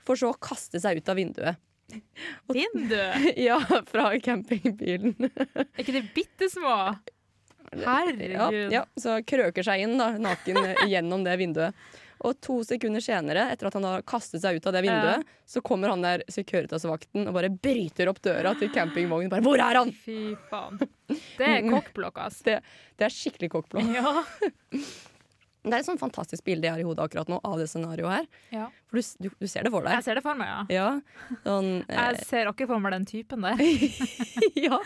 Speaker 1: for så å kaste seg ut av vinduet.
Speaker 2: Vindu!
Speaker 1: Ja, fra campingbilen.
Speaker 2: Er ikke de bitte små?
Speaker 1: Ja,
Speaker 2: Herregud.
Speaker 1: ja, så krøker seg inn da, naken gjennom det vinduet. Og to sekunder senere, etter at han har kastet seg ut av det vinduet, så kommer han der Securitas-vakten og bare bryter opp døra til campingvognen. Bare, Hvor er han?!
Speaker 2: Fy faen. Det er kokkblokk, altså.
Speaker 1: Det, det er skikkelig kokkblå.
Speaker 2: Ja.
Speaker 1: Det er et sånn fantastisk bilde jeg har i hodet akkurat nå av det scenarioet her.
Speaker 2: ja.
Speaker 1: For du, s- du, du ser det for
Speaker 2: Jeg
Speaker 1: deg.
Speaker 2: ser det for meg, ja.
Speaker 1: Ja, sånn, eh,
Speaker 2: Jeg ser akkurat for meg den typen der.
Speaker 1: ja.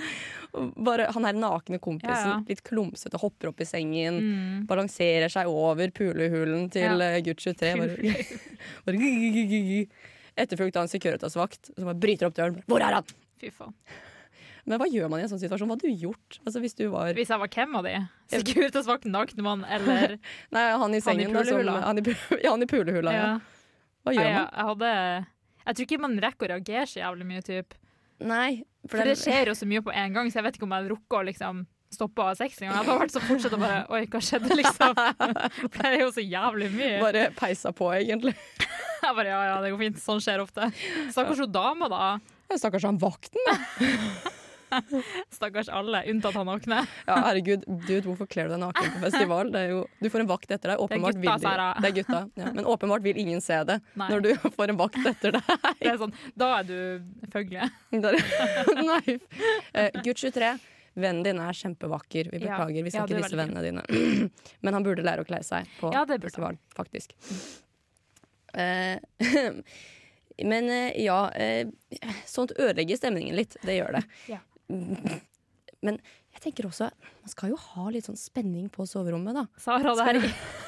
Speaker 1: Og Bare han her nakne kompisen,
Speaker 2: Ja, ja.
Speaker 1: litt klumsete, hopper opp i sengen.
Speaker 2: Mm.
Speaker 1: balanserer seg over pulehulen til
Speaker 2: Ja.
Speaker 1: ja. gutt 23. Bare, bare gu, gu, gu, gu, gu. Etterfulgt av en Securitas-vakt som bare bryter opp døren. Hvor er han?
Speaker 2: Fy faen.
Speaker 1: Men hva gjør man i en sånn situasjon? Hva hadde du gjort? Altså, hvis du var
Speaker 2: Hvis jeg var hvem av de? Securitasvakten, Naknemann eller
Speaker 1: Nei, han i sengen. da, som-
Speaker 2: pulehula.
Speaker 1: han i pulehula. Ja, han i pulehula, ja.
Speaker 2: ja.
Speaker 1: Hva
Speaker 2: Nei,
Speaker 1: gjør
Speaker 2: jeg,
Speaker 1: man?
Speaker 2: jeg hadde Jeg tror ikke man rekker å reagere så jævlig mye, typ.
Speaker 1: Nei,
Speaker 2: For det skjer jo så mye på en gang, så jeg vet ikke om jeg rukker å liksom stoppe av seks engang. Jeg hadde bare vært så fortsatt og bare Oi, hva skjedde, liksom? For det er jo så jævlig mye.
Speaker 1: bare peisa på, egentlig.
Speaker 2: Jeg bare ja, ja, det går fint. Sånn skjer ofte. Stakkars hun dama, da.
Speaker 1: Ja, Stakkars han vakten, da.
Speaker 2: Stakkars alle, unntatt han nakne.
Speaker 1: Ja, herregud, dude, hvorfor kler du deg naken på festival? Det er jo, du får en vakt etter deg.
Speaker 2: er
Speaker 1: Åpenbart
Speaker 2: gutta,
Speaker 1: vil de-
Speaker 2: Sara.
Speaker 1: Det er gutta. Ja. Men åpenbart vil ingen se det
Speaker 2: Nei.
Speaker 1: når du får en vakt etter deg.
Speaker 2: Det er sånn, da er du føgle.
Speaker 1: Der. Nei. Eh, Gutt 23. Vennen din er kjempevakker. Vi
Speaker 2: Ja.
Speaker 1: beklager, vi skal
Speaker 2: Ja,
Speaker 1: ikke
Speaker 2: du er
Speaker 1: disse
Speaker 2: veldig
Speaker 1: vennene dine. Men han burde lære å kle seg på
Speaker 2: Ja, det burde
Speaker 1: festival, faktisk. Eh, men eh, ja eh, Sånt ødelegger stemningen litt. Det gjør det.
Speaker 2: Ja.
Speaker 1: Men jeg tenker også man skal jo ha litt sånn spenning på soverommet, da.
Speaker 2: Sara, det her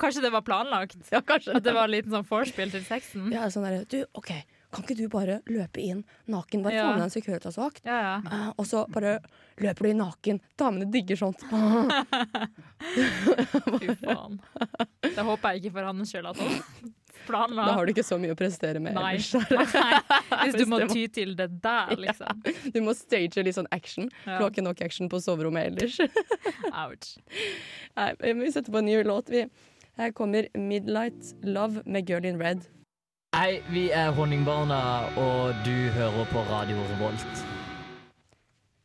Speaker 2: Kanskje det var planlagt?
Speaker 1: Ja, kanskje
Speaker 2: At det var en liten sånn vorspiel til sexen?
Speaker 1: ja, sånn der, du, OK, kan ikke du bare løpe inn naken? Bare
Speaker 2: Ja.
Speaker 1: få med deg en Securitas-vakt.
Speaker 2: Ja, ja.
Speaker 1: Eh, og så bare løper du i naken. Damene digger sånt. Ah,
Speaker 2: Fy faen. Det håper jeg ikke for hans skyld at han planla.
Speaker 1: da har du ikke så mye å prestere med
Speaker 2: Nei.
Speaker 1: ellers.
Speaker 2: Nei. Hvis du må
Speaker 1: Hvis det må-
Speaker 2: ty til det der, liksom.
Speaker 1: Du må stage litt sånn action.
Speaker 2: Ja.
Speaker 1: For du har ikke nok action på soverommet ellers.
Speaker 2: Ouch.
Speaker 1: Nei, men vi setter på en ny låt, vi. Her kommer Midlight Love med Girl in Red.
Speaker 8: Hei, vi er Honningbarna, og du hører på Radio Revolt.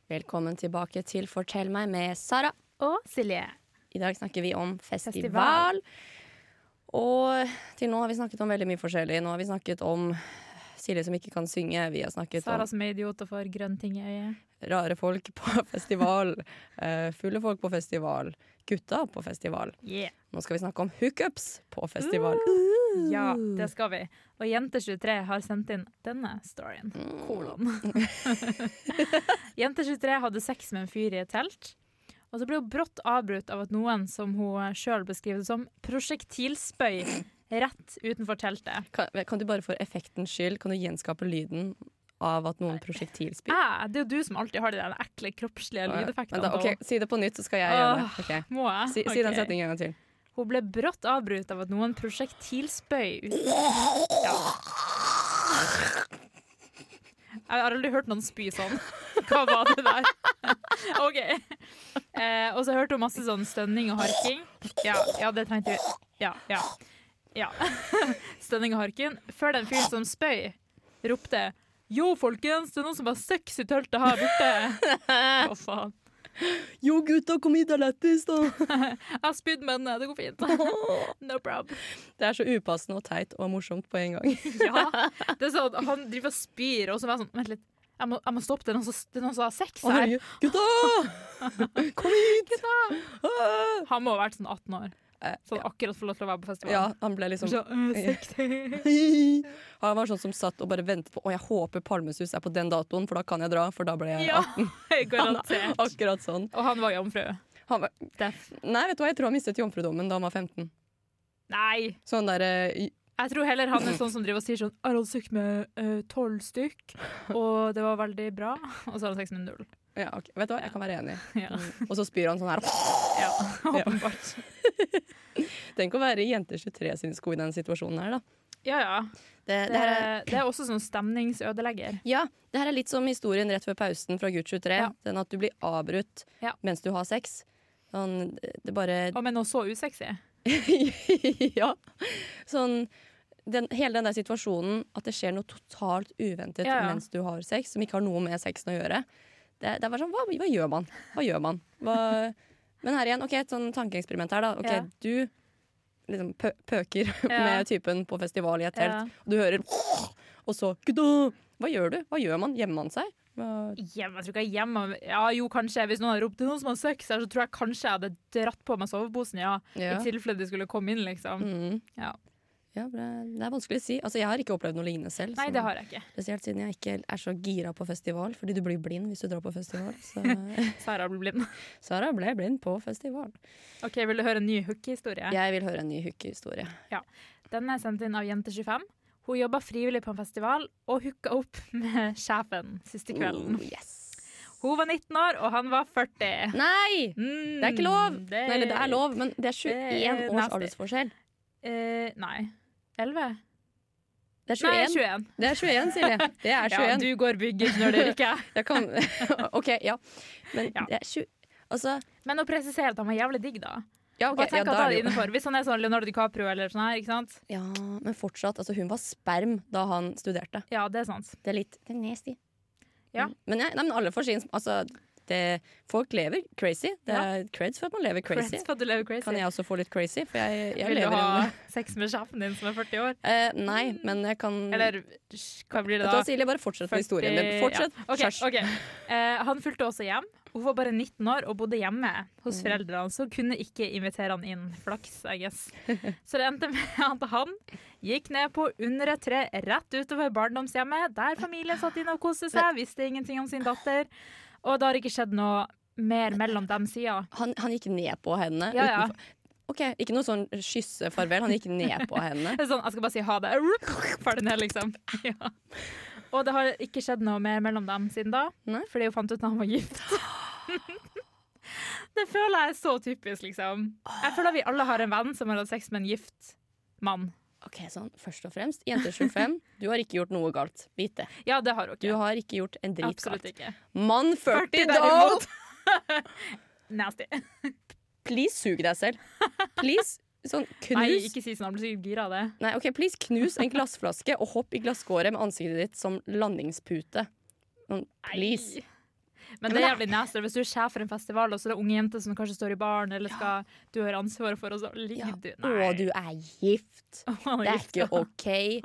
Speaker 1: Velkommen tilbake til Fortell meg med Sara.
Speaker 2: Og Silje.
Speaker 1: I dag snakker vi om festival.
Speaker 2: Festival.
Speaker 1: Og til nå har vi snakket om veldig mye forskjellig. Nå har vi snakket om Silje som ikke kan synge. Vi har snakket om
Speaker 2: Sara som er idiot og får grønne ting i øyet.
Speaker 1: rare folk på festival, eh, fulle folk på festival, gutta på festival.
Speaker 2: Yeah.
Speaker 1: Nå skal vi snakke om hookups på festival.
Speaker 2: Uh. Ja, det skal vi. Og Jente23 har sendt inn denne storyen. Kolon. Jente23 hadde sex med en fyr i et telt. Og så ble hun brått avbrutt av at noen som hun sjøl beskriver det som, prosjektilspøy rett utenfor teltet.
Speaker 1: Kan, kan du bare for effektens skyld Kan du gjenskape lyden av at noen prosjektilspyr?
Speaker 2: Æ, Ah, det er jo du som alltid har de der ekle kroppslige
Speaker 1: Men
Speaker 2: lydeffektene.
Speaker 1: da- ok, si det på nytt, så skal jeg gjøre det. Ok.
Speaker 2: Må jeg?
Speaker 1: Si, si den
Speaker 2: Ok.
Speaker 1: setningen en gang til.
Speaker 2: Hun ble brått avbrutt av at noen prosjektilspøy ut ja. Jeg har aldri hørt noen spy sånn. Hva var det der? OK. Eh, og så hørte hun masse sånn stønning og harking. Ja, ja det tenkte vi. Ja, ja. ja. Stønning og harking. Før den fyren som spøy, ropte Yo, folkens, det er noen som har sex i teltet her borte. Hva faen?
Speaker 1: Yo, gutta, kom hit, det er lættis, da!
Speaker 2: Jeg har spydd, men eh, det går fint. No prob.
Speaker 1: Det er så upassende og teit og morsomt på en gang.
Speaker 2: Ja. Det er sånn, han driver og spyr, og så var jeg sånn Vent litt, jeg må, jeg må stoppe. Det er noen som- det er noen som har sex
Speaker 1: Å,
Speaker 2: her.
Speaker 1: herregud. Gutta! Kom hit! Ah!
Speaker 2: Han må ha vært sånn 18 år.
Speaker 1: Eh,
Speaker 2: Så han akkurat får lov til å være på festivalen.
Speaker 1: Ja, han ble liksom
Speaker 2: Så, eh, sex.
Speaker 1: Han var sånn som satt og bare ventet på Å, jeg håper Palmesus er på den datoen, for da kan jeg dra. For da ble jeg
Speaker 2: Ja, garantert.
Speaker 1: akkurat sånn.
Speaker 2: Og han var jomfru.
Speaker 1: Han var,
Speaker 2: Deff.
Speaker 1: nei, vet du hva, jeg tror han mistet jomfrudommen da han var 15.
Speaker 2: Nei.
Speaker 1: Sånn der eh,
Speaker 2: Jeg tror heller han er sånn som driver og sier sånn Jeg har søkt med øh, tolv stykk, og det var veldig bra. Og så har han sex med null.
Speaker 1: ja, ok, Vet du hva, jeg kan være enig.
Speaker 2: Ja.
Speaker 1: Og så spyr han sånn her.
Speaker 2: ja, åpenbart.
Speaker 1: Tenk å være i jenter 23 sin sko i den situasjonen her, da.
Speaker 2: Ja, ja.
Speaker 1: Det,
Speaker 2: Det, det er også sånn stemningsødelegger.
Speaker 1: Ja, det her er litt som historien rett før pausen fra Gucci 3.
Speaker 2: Ja.
Speaker 1: Den at du blir avbrutt
Speaker 2: Ja.
Speaker 1: mens du har sex. Sånn, det bare
Speaker 2: Og med noe så usexy.
Speaker 1: Ja. Sånn den, hele den der situasjonen at det skjer noe totalt uventet
Speaker 2: Ja, ja.
Speaker 1: mens du har sex, som ikke har noe med sexen å gjøre. Det, det er bare sånn, hva, hva gjør man? Hva gjør man? Hva, men her igjen, ok, et sånn tankeeksperiment her, da. Ok,
Speaker 2: Ja.
Speaker 1: Du liksom pø pøker
Speaker 2: Ja.
Speaker 1: med typen på festival i et
Speaker 2: Ja.
Speaker 1: telt, og du hører Og så «Gudå!» Hva gjør du? Hva gjør man? Gjemmer man seg? Hva,
Speaker 2: Hjemme, jeg tror ikke jeg er hjemme. Ja, jo, kanskje. Hvis noen hadde ropt 'det er noen som har sex', her, så tror jeg kanskje jeg hadde dratt på meg soveposen, ja.
Speaker 1: Ja.
Speaker 2: I tilfelle de skulle komme inn, liksom.
Speaker 1: mm.
Speaker 2: Ja.
Speaker 1: Ja, det er- det er vanskelig å si. Altså, jeg har ikke opplevd noe lignende selv.
Speaker 2: Nei,
Speaker 1: så-
Speaker 2: det har jeg ikke.
Speaker 1: Spesielt siden jeg ikke er så gira på festival, fordi du blir blind hvis du drar på festival. Så
Speaker 2: Sara ble blind.
Speaker 1: Sara ble blind på festival.
Speaker 2: OK, vil du høre en ny hookehistorie?
Speaker 1: Jeg vil høre en ny hookehistorie.
Speaker 2: Den er sendt inn av Jente25. Hun jobba frivillig på en festival og hooka opp med sjefen siste kvelden.
Speaker 1: Oh, yes.
Speaker 2: Hun var 19 år, og han var 40.
Speaker 1: Nei!
Speaker 2: Mm,
Speaker 1: Det er ikke lov!
Speaker 2: det-
Speaker 1: Nei, eller det er lov, men det er
Speaker 2: Det
Speaker 1: 21
Speaker 2: er
Speaker 1: års
Speaker 2: nasty.
Speaker 1: aldersforskjell.
Speaker 2: Eh, nei. 11?
Speaker 1: Det er
Speaker 2: Nei,
Speaker 1: 21,
Speaker 2: 21.
Speaker 1: det er 21 Silje. Det er 21.
Speaker 2: Ja, du går byggingeniør, det gjør ikke jeg.
Speaker 1: Jeg kan OK, ja. Men
Speaker 2: Ja.
Speaker 1: det er 20 Altså,
Speaker 2: Men å presisere at han var jævlig digg, da.
Speaker 1: ja, OK.
Speaker 2: Bare
Speaker 1: Ja,
Speaker 2: tenk
Speaker 1: da
Speaker 2: at
Speaker 1: er
Speaker 2: han er
Speaker 1: det jo
Speaker 2: innenfor. Hvis han er sånn Leonardo DiCaprio eller sånn her, ikke sant?
Speaker 1: ja, Men fortsatt, altså, hun var sperm da han studerte.
Speaker 2: Ja, det er sant.
Speaker 1: Det er litt det er nasty.
Speaker 2: Ja.
Speaker 1: Mm. Men, jeg, nei, men alle får sin altså, det, Folk lever crazy. Det er creds for at man lever crazy.
Speaker 2: Friends for at du lever crazy.
Speaker 1: Kan jeg også få litt crazy? For jeg, jeg
Speaker 2: Vil du
Speaker 1: lever i
Speaker 2: ha
Speaker 1: en
Speaker 2: sex med sjefen din som er 40 år?
Speaker 1: Eh, Nei, men jeg kan
Speaker 2: Eller hva blir
Speaker 1: Vet du
Speaker 2: det da?
Speaker 1: hva, Silje, bare fortsett med historien din. Fortsett.
Speaker 2: Ja. Ok,
Speaker 1: Kjærs.
Speaker 2: ok. Eh, han fulgte også hjem. Hun var bare 19 år og bodde hjemme
Speaker 1: Mm.
Speaker 2: hos foreldrene hans. Hun kunne ikke invitere han inn. Flaks, I guess. Så det endte med at han gikk ned på under et tre rett utover barndomshjemmet, der familien satt inne og koste seg, visste ingenting om sin datter. Og det har ikke skjedd noe mer mellom dem siden.
Speaker 1: Han, han gikk ned på henne.
Speaker 2: Ja, ja.
Speaker 1: utenfor- Ok, Ikke noe sånn kysse farvel. Han gikk ned på henne.
Speaker 2: Det er sånn, jeg skal bare si ha det. Ferdig ned, liksom. Ja. Og det har ikke skjedd noe mer mellom dem siden da,
Speaker 1: Nei.
Speaker 2: fordi hun fant ut at han var gift. det føler jeg er så typisk, liksom. Jeg føler vi alle har en venn som har hatt sex med en gift mann.
Speaker 1: Ok, sånn, Først og fremst, jente 25, du har ikke gjort noe galt. Vit det.
Speaker 2: Ja, det har hun
Speaker 1: Du
Speaker 2: ikke.
Speaker 1: har ikke gjort en drit
Speaker 2: Absolutt
Speaker 1: galt.
Speaker 2: ikke.
Speaker 1: Mann 40,
Speaker 2: 40
Speaker 1: derimot!
Speaker 2: derimot. Nasty.
Speaker 1: Please sug deg selv. Please, sånn knus
Speaker 2: Nei, ikke si sånn, han blir sikkert gira av det.
Speaker 1: Nei, ok, please knus en glassflaske og hopp i glasskåret med ansiktet ditt som landingspute. Sånn, Please.
Speaker 2: Nei. Men det er jævlig nasty hvis du er sjef for en festival, og så er det unge jenter som kanskje står i baren, eller skal du har ansvaret for, og så ligger
Speaker 1: Ja.
Speaker 2: du
Speaker 1: Å, du er gift.
Speaker 2: Han
Speaker 1: Det er
Speaker 2: gift,
Speaker 1: ikke
Speaker 2: da.
Speaker 1: OK.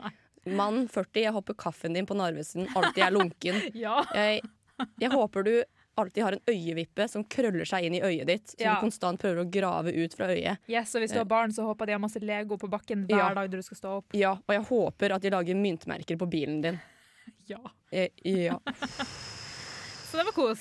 Speaker 1: Mann 40, jeg hopper kaffen din på Narvesen. Alltid er lunken.
Speaker 2: Ja.
Speaker 1: Jeg, jeg håper du alltid har en øyevippe som krøller seg inn i øyet ditt, som
Speaker 2: Ja.
Speaker 1: du konstant prøver å grave ut fra øyet.
Speaker 2: Yes, og hvis du har barn, så håper jeg de har masse Lego på bakken hver
Speaker 1: Ja.
Speaker 2: dag du skal stå opp.
Speaker 1: Ja, og jeg håper at de lager myntmerker på bilen din.
Speaker 2: Ja.
Speaker 1: Eh, Ja.
Speaker 2: Så det var kos.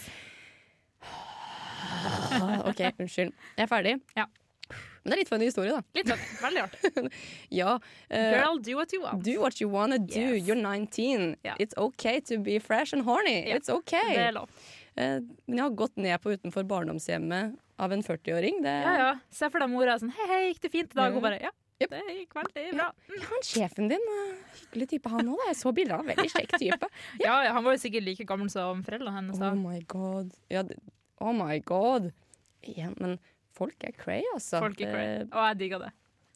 Speaker 1: Ah, OK, unnskyld. Jeg er ferdig.
Speaker 2: Ja.
Speaker 1: Men det er litt funny historie, da.
Speaker 2: Litt sånn, veldig artig.
Speaker 1: Ja. eh,
Speaker 2: Girl, do what you want.
Speaker 1: Do what you wanna do.
Speaker 2: Yes.
Speaker 1: You're 19.
Speaker 2: Ja.
Speaker 1: It's okay to be fresh and horny.
Speaker 2: Ja,
Speaker 1: It's okay.
Speaker 2: Det er lov.
Speaker 1: Eh, men jeg har gått ned på utenfor barndomshjemmet av en 40-åring. Det
Speaker 2: Ja, ja. Se for deg mora er sånn Hei, hei, gikk det fint i dag?
Speaker 1: Mm.
Speaker 2: Hun bare Ja,
Speaker 1: Yep.
Speaker 2: det gikk veldig bra. Mm.
Speaker 1: Han sjefen din, eh, hyggelig type han òg. Jeg så bilder av en veldig kjekk type.
Speaker 2: Ja, ja, han var jo sikkert like gammel som foreldrene hennes.
Speaker 1: Oh
Speaker 2: Da.
Speaker 1: my god. Ja, det, oh my god. Ja, men folk er cray, altså.
Speaker 2: Folk i Cray.
Speaker 1: Det-
Speaker 2: Og jeg digga det.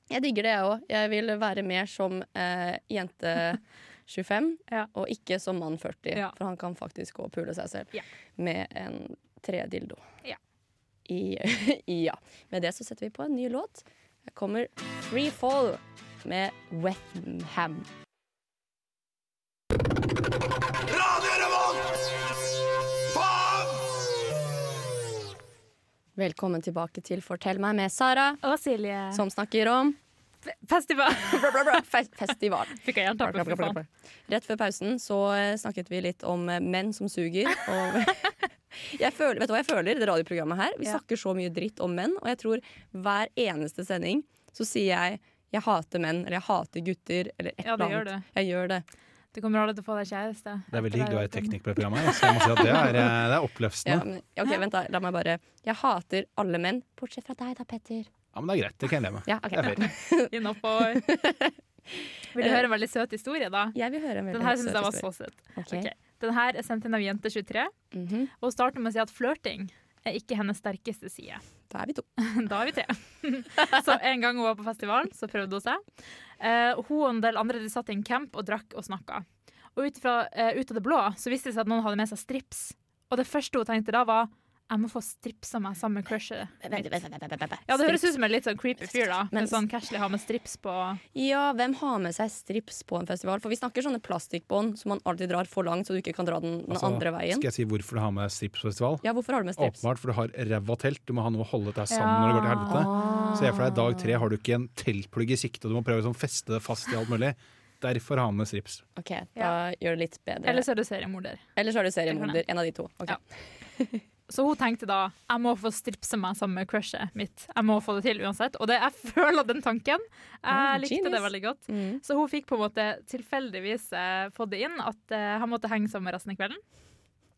Speaker 1: Jeg digger det, jeg òg. Jeg vil være mer som eh, jente 25,
Speaker 2: Ja.
Speaker 1: og ikke som mann 40.
Speaker 2: Ja.
Speaker 1: For han kan faktisk gå og pule seg selv
Speaker 2: Ja.
Speaker 1: med en tredildo.
Speaker 2: Ja.
Speaker 1: I, ja. Med det så setter vi på en ny låt. Her kommer Free Fall med Wetham. Velkommen tilbake til Fortell meg med Sara,
Speaker 2: Og Silje.
Speaker 1: som snakker om
Speaker 2: Sånn. Festival.
Speaker 1: fe- festival.
Speaker 2: Fikk jeg jernteppe, for faen.
Speaker 1: Rett før pausen så eh, snakket vi litt om eh, menn som suger. Og jeg føler, vet du hva jeg føler? Det radioprogrammet her Vi
Speaker 2: Ja.
Speaker 1: snakker så mye dritt om menn, og jeg tror hver eneste sending så sier jeg 'jeg hater menn', eller 'jeg hater gutter', eller et
Speaker 2: Ja,
Speaker 1: eller
Speaker 2: det gjør
Speaker 1: annet. Jeg gjør det.
Speaker 2: Du kommer aldri til å få deg kjæreste.
Speaker 3: Det er veldig hyggelig å være
Speaker 2: tekniker
Speaker 3: tekniker på det programmet. Så jeg må si at det er, eh, det er
Speaker 1: Ja,
Speaker 3: oppløftende.
Speaker 1: men, ok, vent da, La meg bare Jeg hater alle menn, bortsett fra deg da, Petter.
Speaker 3: Ja, men det er greit. Det kan jeg leve med.
Speaker 1: Ja, ok
Speaker 3: Det er fair.
Speaker 2: Innafor. Vil du høre en veldig søt historie, da?
Speaker 1: Jeg vil høre en veldig
Speaker 2: Den her syns
Speaker 1: søt
Speaker 2: jeg var
Speaker 1: historie.
Speaker 2: så søt. Ok. Den her er sendt inn av jente23,
Speaker 1: Mhm.
Speaker 2: og starter med å si at flørting er ikke hennes sterkeste side.
Speaker 1: Da er vi to.
Speaker 2: Da er vi tre. Så en gang hun var på festival, så prøvde hun seg. Eh, hun og en del andre de satt i en camp og drakk og snakka. Og ut, fra, eh, ut av det blå så viste det seg at noen hadde med seg strips. Og det første hun tenkte da, var jeg må få stripsa meg sammen med crushet. Ja, det høres ut som en litt sånn creepy fyr, da.
Speaker 1: Men-
Speaker 2: Men, sånn casually har med strips på.
Speaker 1: Ja, hvem har med seg strips på en festival? For vi snakker sånne plastikkbånd som man alltid drar for langt, så du ikke kan dra den, den
Speaker 3: Altså,
Speaker 1: andre veien.
Speaker 3: Skal jeg si hvorfor du har med stripsfestival?
Speaker 1: Ja, hvorfor har du med strips?
Speaker 3: Åpenbart, for du har ræva telt. Du må ha noe å holde deg sammen når det går til helvete. Se for deg dag tre har du ikke en teltplugg i sikte, og du må prøve å sånn feste det fast i alt mulig. Derfor har han med strips.
Speaker 1: Ok, da gjør det litt bedre.
Speaker 2: Eller så er du seriemorder.
Speaker 1: Eller så er du seriemorder. En av de to. Ok.
Speaker 2: Ja. Så hun tenkte da jeg må få stripsa meg sammen med crushet mitt. Jeg må få det til uansett. Og det, jeg føler den tanken.
Speaker 1: Ah,
Speaker 2: Jeg likte det
Speaker 1: genius.
Speaker 2: veldig godt.
Speaker 1: Mm.
Speaker 2: Så hun fikk på en måte tilfeldigvis eh, fått det inn at eh, han måtte henge sammen resten av kvelden.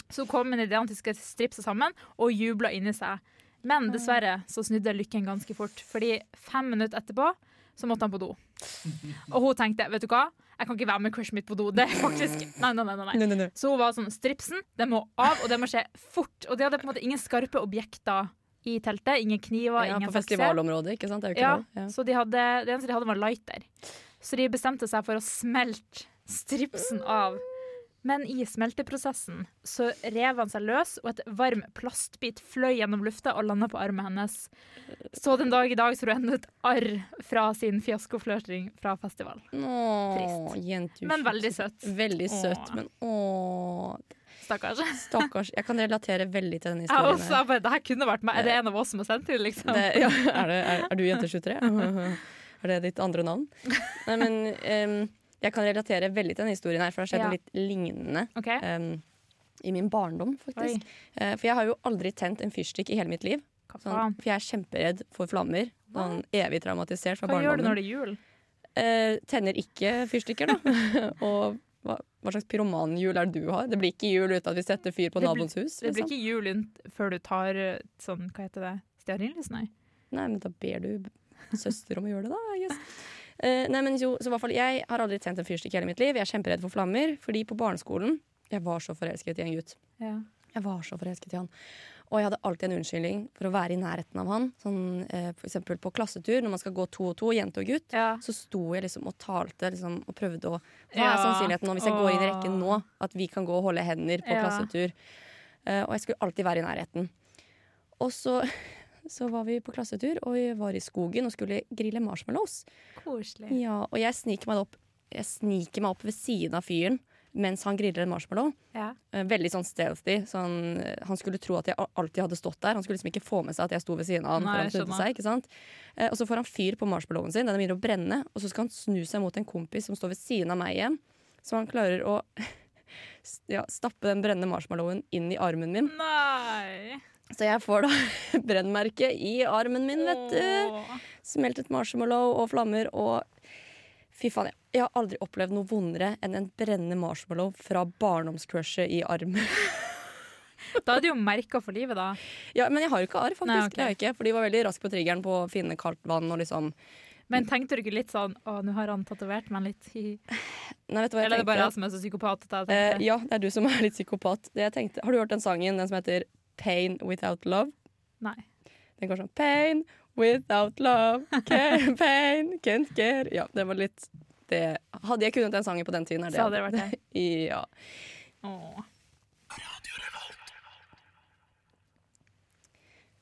Speaker 2: Så hun kom med ideen at de skulle stripse sammen, og jubla inni seg.
Speaker 1: Ah.
Speaker 2: Men dessverre så snudde lykken ganske fort, fordi fem minutter etterpå så måtte han på do. Og hun tenkte vet du hva, jeg kan ikke være med crushet mitt på do. Det er faktisk Nei, nei, nei. nei, nei.
Speaker 1: Nei, nei, nei.
Speaker 2: Så hun var sånn Stripsen, den må av, og det må skje fort. Og de hadde på en måte ingen skarpe objekter i teltet. Ingen kniver,
Speaker 1: Ja,
Speaker 2: ingen
Speaker 1: på
Speaker 2: suksess.
Speaker 1: festivalområdet, ikke sant? Det er jo ikke
Speaker 2: Ja,
Speaker 1: lov. Ja.
Speaker 2: Så de hadde, det eneste de hadde, var lighter. Så de bestemte seg for å smelte stripsen av. Men i smelteprosessen så rev han seg løs, og et varm plastbit fløy gjennom lufta og landa på armen hennes. Så den dag i dag så har hun ennå et arr fra sin fiaskoflørting fra festival.
Speaker 1: Nå,
Speaker 2: Trist.
Speaker 1: jentus.
Speaker 2: Men veldig søt.
Speaker 1: Veldig
Speaker 2: Åh.
Speaker 1: søtt, men åh
Speaker 2: Stakkars. Jeg
Speaker 1: Stakkars. Jeg kan relatere veldig til denne historien.
Speaker 2: også,
Speaker 1: her.
Speaker 2: jeg bare, det her kunne vært meg. Er det en av oss som har sendt det, liksom?
Speaker 1: Det, ja, er, det, er, er du jente 23? Er det ditt andre navn? Nei, men em, jeg kan relatere veldig til denne historien her, for det har skjedd
Speaker 2: Ja.
Speaker 1: noe litt lignende
Speaker 2: OK.
Speaker 1: em, i min barndom, faktisk. Eh, for jeg har jo aldri tent en fyrstikk i hele mitt liv.
Speaker 2: Hva
Speaker 1: Sånn,
Speaker 2: faen?
Speaker 1: for jeg er kjemperedd for flammer. Sånn, evig traumatisert fra
Speaker 2: Hva gjør du
Speaker 1: barndommen.
Speaker 2: når det er jul?
Speaker 1: Eh, tenner ikke fyrstikker, da. og hva, hva slags pyromanjul er det du har? Det blir ikke jul uten at vi setter fyr på
Speaker 2: Det blir-
Speaker 1: naboens hus.
Speaker 2: Det blir
Speaker 1: liksom.
Speaker 2: ikke jul inn- før du tar eh, sånn, hva heter det, stearinlys, nei?
Speaker 1: Nei, men da ber du søster om å gjøre det, da. I guess. Eh, nei, men jo, så i hvert fall, Jeg har aldri tent en fyrstikk i hele mitt liv. Jeg er kjemperedd for flammer. Fordi på barneskolen Jeg var så forelsket i en gutt.
Speaker 2: Ja.
Speaker 1: Jeg var så forelsket i han. Og jeg hadde alltid en unnskyldning for å være i nærheten av han. Sånn, eh, for eksempel på klassetur, når man skal gå to og to, jente og gutt.
Speaker 2: Ja.
Speaker 1: Så sto jeg liksom og talte liksom, og prøvde å Hva er
Speaker 2: Ja.
Speaker 1: sannsynligheten nå, hvis jeg går inn i rekken nå,
Speaker 2: Åh.
Speaker 1: at vi kan gå og holde hender på
Speaker 2: Ja.
Speaker 1: klassetur? Eh, og jeg skulle alltid være i nærheten. Og så, så var vi på klassetur, og vi var i skogen og skulle grille marshmallows.
Speaker 2: Koselig.
Speaker 1: Ja, og jeg sniker meg opp, jeg sniker meg opp ved siden av fyren mens han griller en marshmallow.
Speaker 2: Ja.
Speaker 1: Eh, Veldig sånn stealthy. så han- han skulle tro at jeg al- alltid hadde stått der. Han skulle liksom ikke få med seg at jeg sto ved siden av han.
Speaker 2: Nei,
Speaker 1: før han
Speaker 2: jeg
Speaker 1: snudde
Speaker 2: skjønner.
Speaker 1: seg, ikke sant? Eh, Og så får han fyr på marshmallowen sin, den begynner å brenne. Og så skal han snu seg mot en kompis som står ved siden av meg igjen. Så han klarer å s- ja, stappe den brennende marshmallowen inn i armen min.
Speaker 2: Nei!
Speaker 1: Så jeg får da brennmerke i armen min, vet
Speaker 2: Eh.
Speaker 1: du.
Speaker 2: Åh.
Speaker 1: Smeltet marshmallow og flammer og Fy faen, jeg, jeg har aldri opplevd noe vondere enn en brennende marshmallow fra barndomscrushet i armen.
Speaker 2: Da er det jo merka for livet, da.
Speaker 1: Ja, men jeg har jo ikke arr, faktisk.
Speaker 2: Nei, ok.
Speaker 1: Det har jeg ikke, for de var veldig raske på triggeren på å finne kaldt vann og liksom
Speaker 2: Men tenkte du ikke litt sånn Å, nå har han tatovert meg litt. hi, hi».
Speaker 1: Nei, vet du hva jeg
Speaker 2: Eller er det
Speaker 1: tenkte?
Speaker 2: bare jeg som er så psykopat? At jeg
Speaker 1: Eh,
Speaker 2: tenker,
Speaker 1: ja, det er du som er litt psykopat. Det jeg tenkte, har du hørt den sangen, den som heter Pain Without Love?
Speaker 2: Nei.
Speaker 1: Den går sånn Pain without love, can pain can't get Ja, det var litt det. Hadde jeg kunnet den sangen på den tiden, er det
Speaker 2: Så hadde det vært det.
Speaker 1: Ja.
Speaker 2: Åh.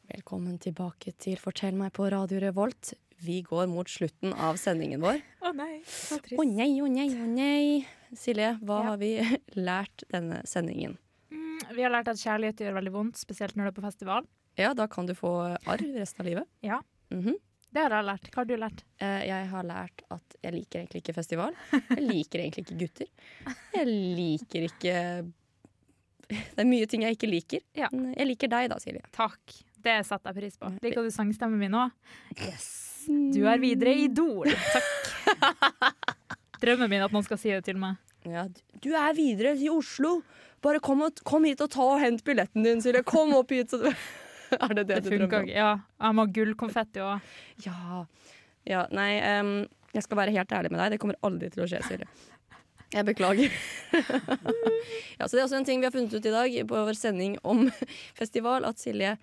Speaker 1: Velkommen tilbake til Fortell meg på Radio Revolt. Vi går mot slutten av sendingen vår.
Speaker 2: Å nei, så trist.
Speaker 1: Å nei, å nei, å nei. Silje, hva
Speaker 2: Ja.
Speaker 1: har vi lært denne sendingen?
Speaker 2: Mm, Vi har lært at kjærlighet gjør veldig vondt, spesielt når du er på festival.
Speaker 1: Ja, da kan du få arr resten av livet.
Speaker 2: Ja.
Speaker 1: Mhm.
Speaker 2: Det har jeg lært. Hva har du lært?
Speaker 1: Eh, Jeg har lært at jeg liker egentlig ikke festival. Jeg liker egentlig ikke gutter. Jeg liker ikke Det er mye ting jeg ikke liker.
Speaker 2: Ja.
Speaker 1: Men Jeg liker deg da, Silje.
Speaker 2: Takk. Det setter jeg pris på. Liker du sangstemmen min òg? Yes. Du er videre idol. Takk. Drømmen min er at noen skal si det til meg.
Speaker 1: Ja, du- du er videre i Oslo. Bare kom, og, kom hit og ta og hent billetten din, Silje. Kom opp hit. Så du... Er det det,
Speaker 2: Det
Speaker 1: du
Speaker 2: funka
Speaker 1: drømmer om?
Speaker 2: ikke. Ja. Jeg må ha gullkonfetti òg.
Speaker 1: Ja. ja. Nei, em, jeg skal være helt ærlig med deg. Det kommer aldri til å skje, Silje. Jeg beklager. ja, så Det er også en ting vi har funnet ut i dag på vår sending om festival, at Silje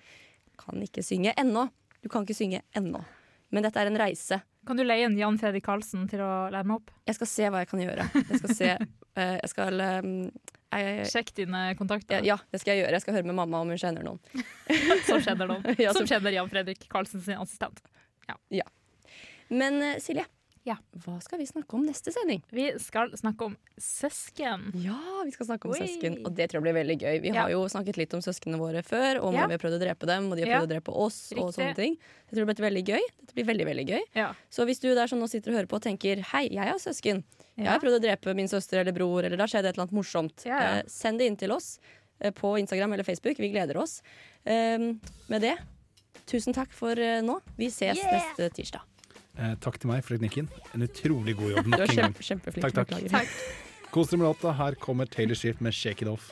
Speaker 1: kan ikke synge ennå. Du kan ikke synge ennå. Men dette er en reise.
Speaker 2: Kan du leie en Jan Fredrik Karlsen til å lære meg opp?
Speaker 1: Jeg skal se hva jeg kan gjøre. Jeg skal se eh, Jeg skal em, jeg,
Speaker 2: Sjekk dine kontakter.
Speaker 1: ja, det skal jeg gjøre. Jeg skal høre med mamma om hun kjenner noen.
Speaker 2: Som kjenner noen.
Speaker 1: Ja,
Speaker 2: som
Speaker 1: som-
Speaker 2: kjenner Jan Fredrik Karlsen sin assistent.
Speaker 1: Men eh, Silje,
Speaker 2: Ja.
Speaker 1: hva skal vi snakke om neste sending?
Speaker 2: Vi skal snakke om søsken.
Speaker 1: Ja, vi skal snakke om
Speaker 2: Oi.
Speaker 1: søsken, og det tror jeg blir veldig gøy. Vi
Speaker 2: Ja.
Speaker 1: har jo snakket litt om søsknene våre før, og om
Speaker 2: Ja.
Speaker 1: vi har prøvd å drepe dem, og de har
Speaker 2: Ja.
Speaker 1: prøvd å drepe oss, og
Speaker 2: Riktig.
Speaker 1: sånne ting. Jeg tror det blir veldig gøy. Dette blir veldig, veldig gøy.
Speaker 2: Ja.
Speaker 1: Så hvis du der som nå sitter og hører på og tenker hei, jeg har søsken, jeg
Speaker 2: Ja.
Speaker 1: har prøvd å drepe min søster eller bror, eller det har skjedd et eller annet morsomt,
Speaker 2: Ja, ja.
Speaker 1: Eh, send det inn til oss eh, på Instagram eller Facebook. Vi gleder oss. Ehm, med det, tusen takk for eh, nå. Vi ses neste tirsdag.
Speaker 3: Eh, takk til meg for teknikken. En utrolig god jobb
Speaker 1: Du
Speaker 3: nok
Speaker 1: er
Speaker 3: en gang.
Speaker 1: kjempe, kjempeflink.
Speaker 3: Takk, takk.
Speaker 1: Beklager.
Speaker 3: Kos dere med låta. Her kommer Taylor Swift med 'Shake It Off'.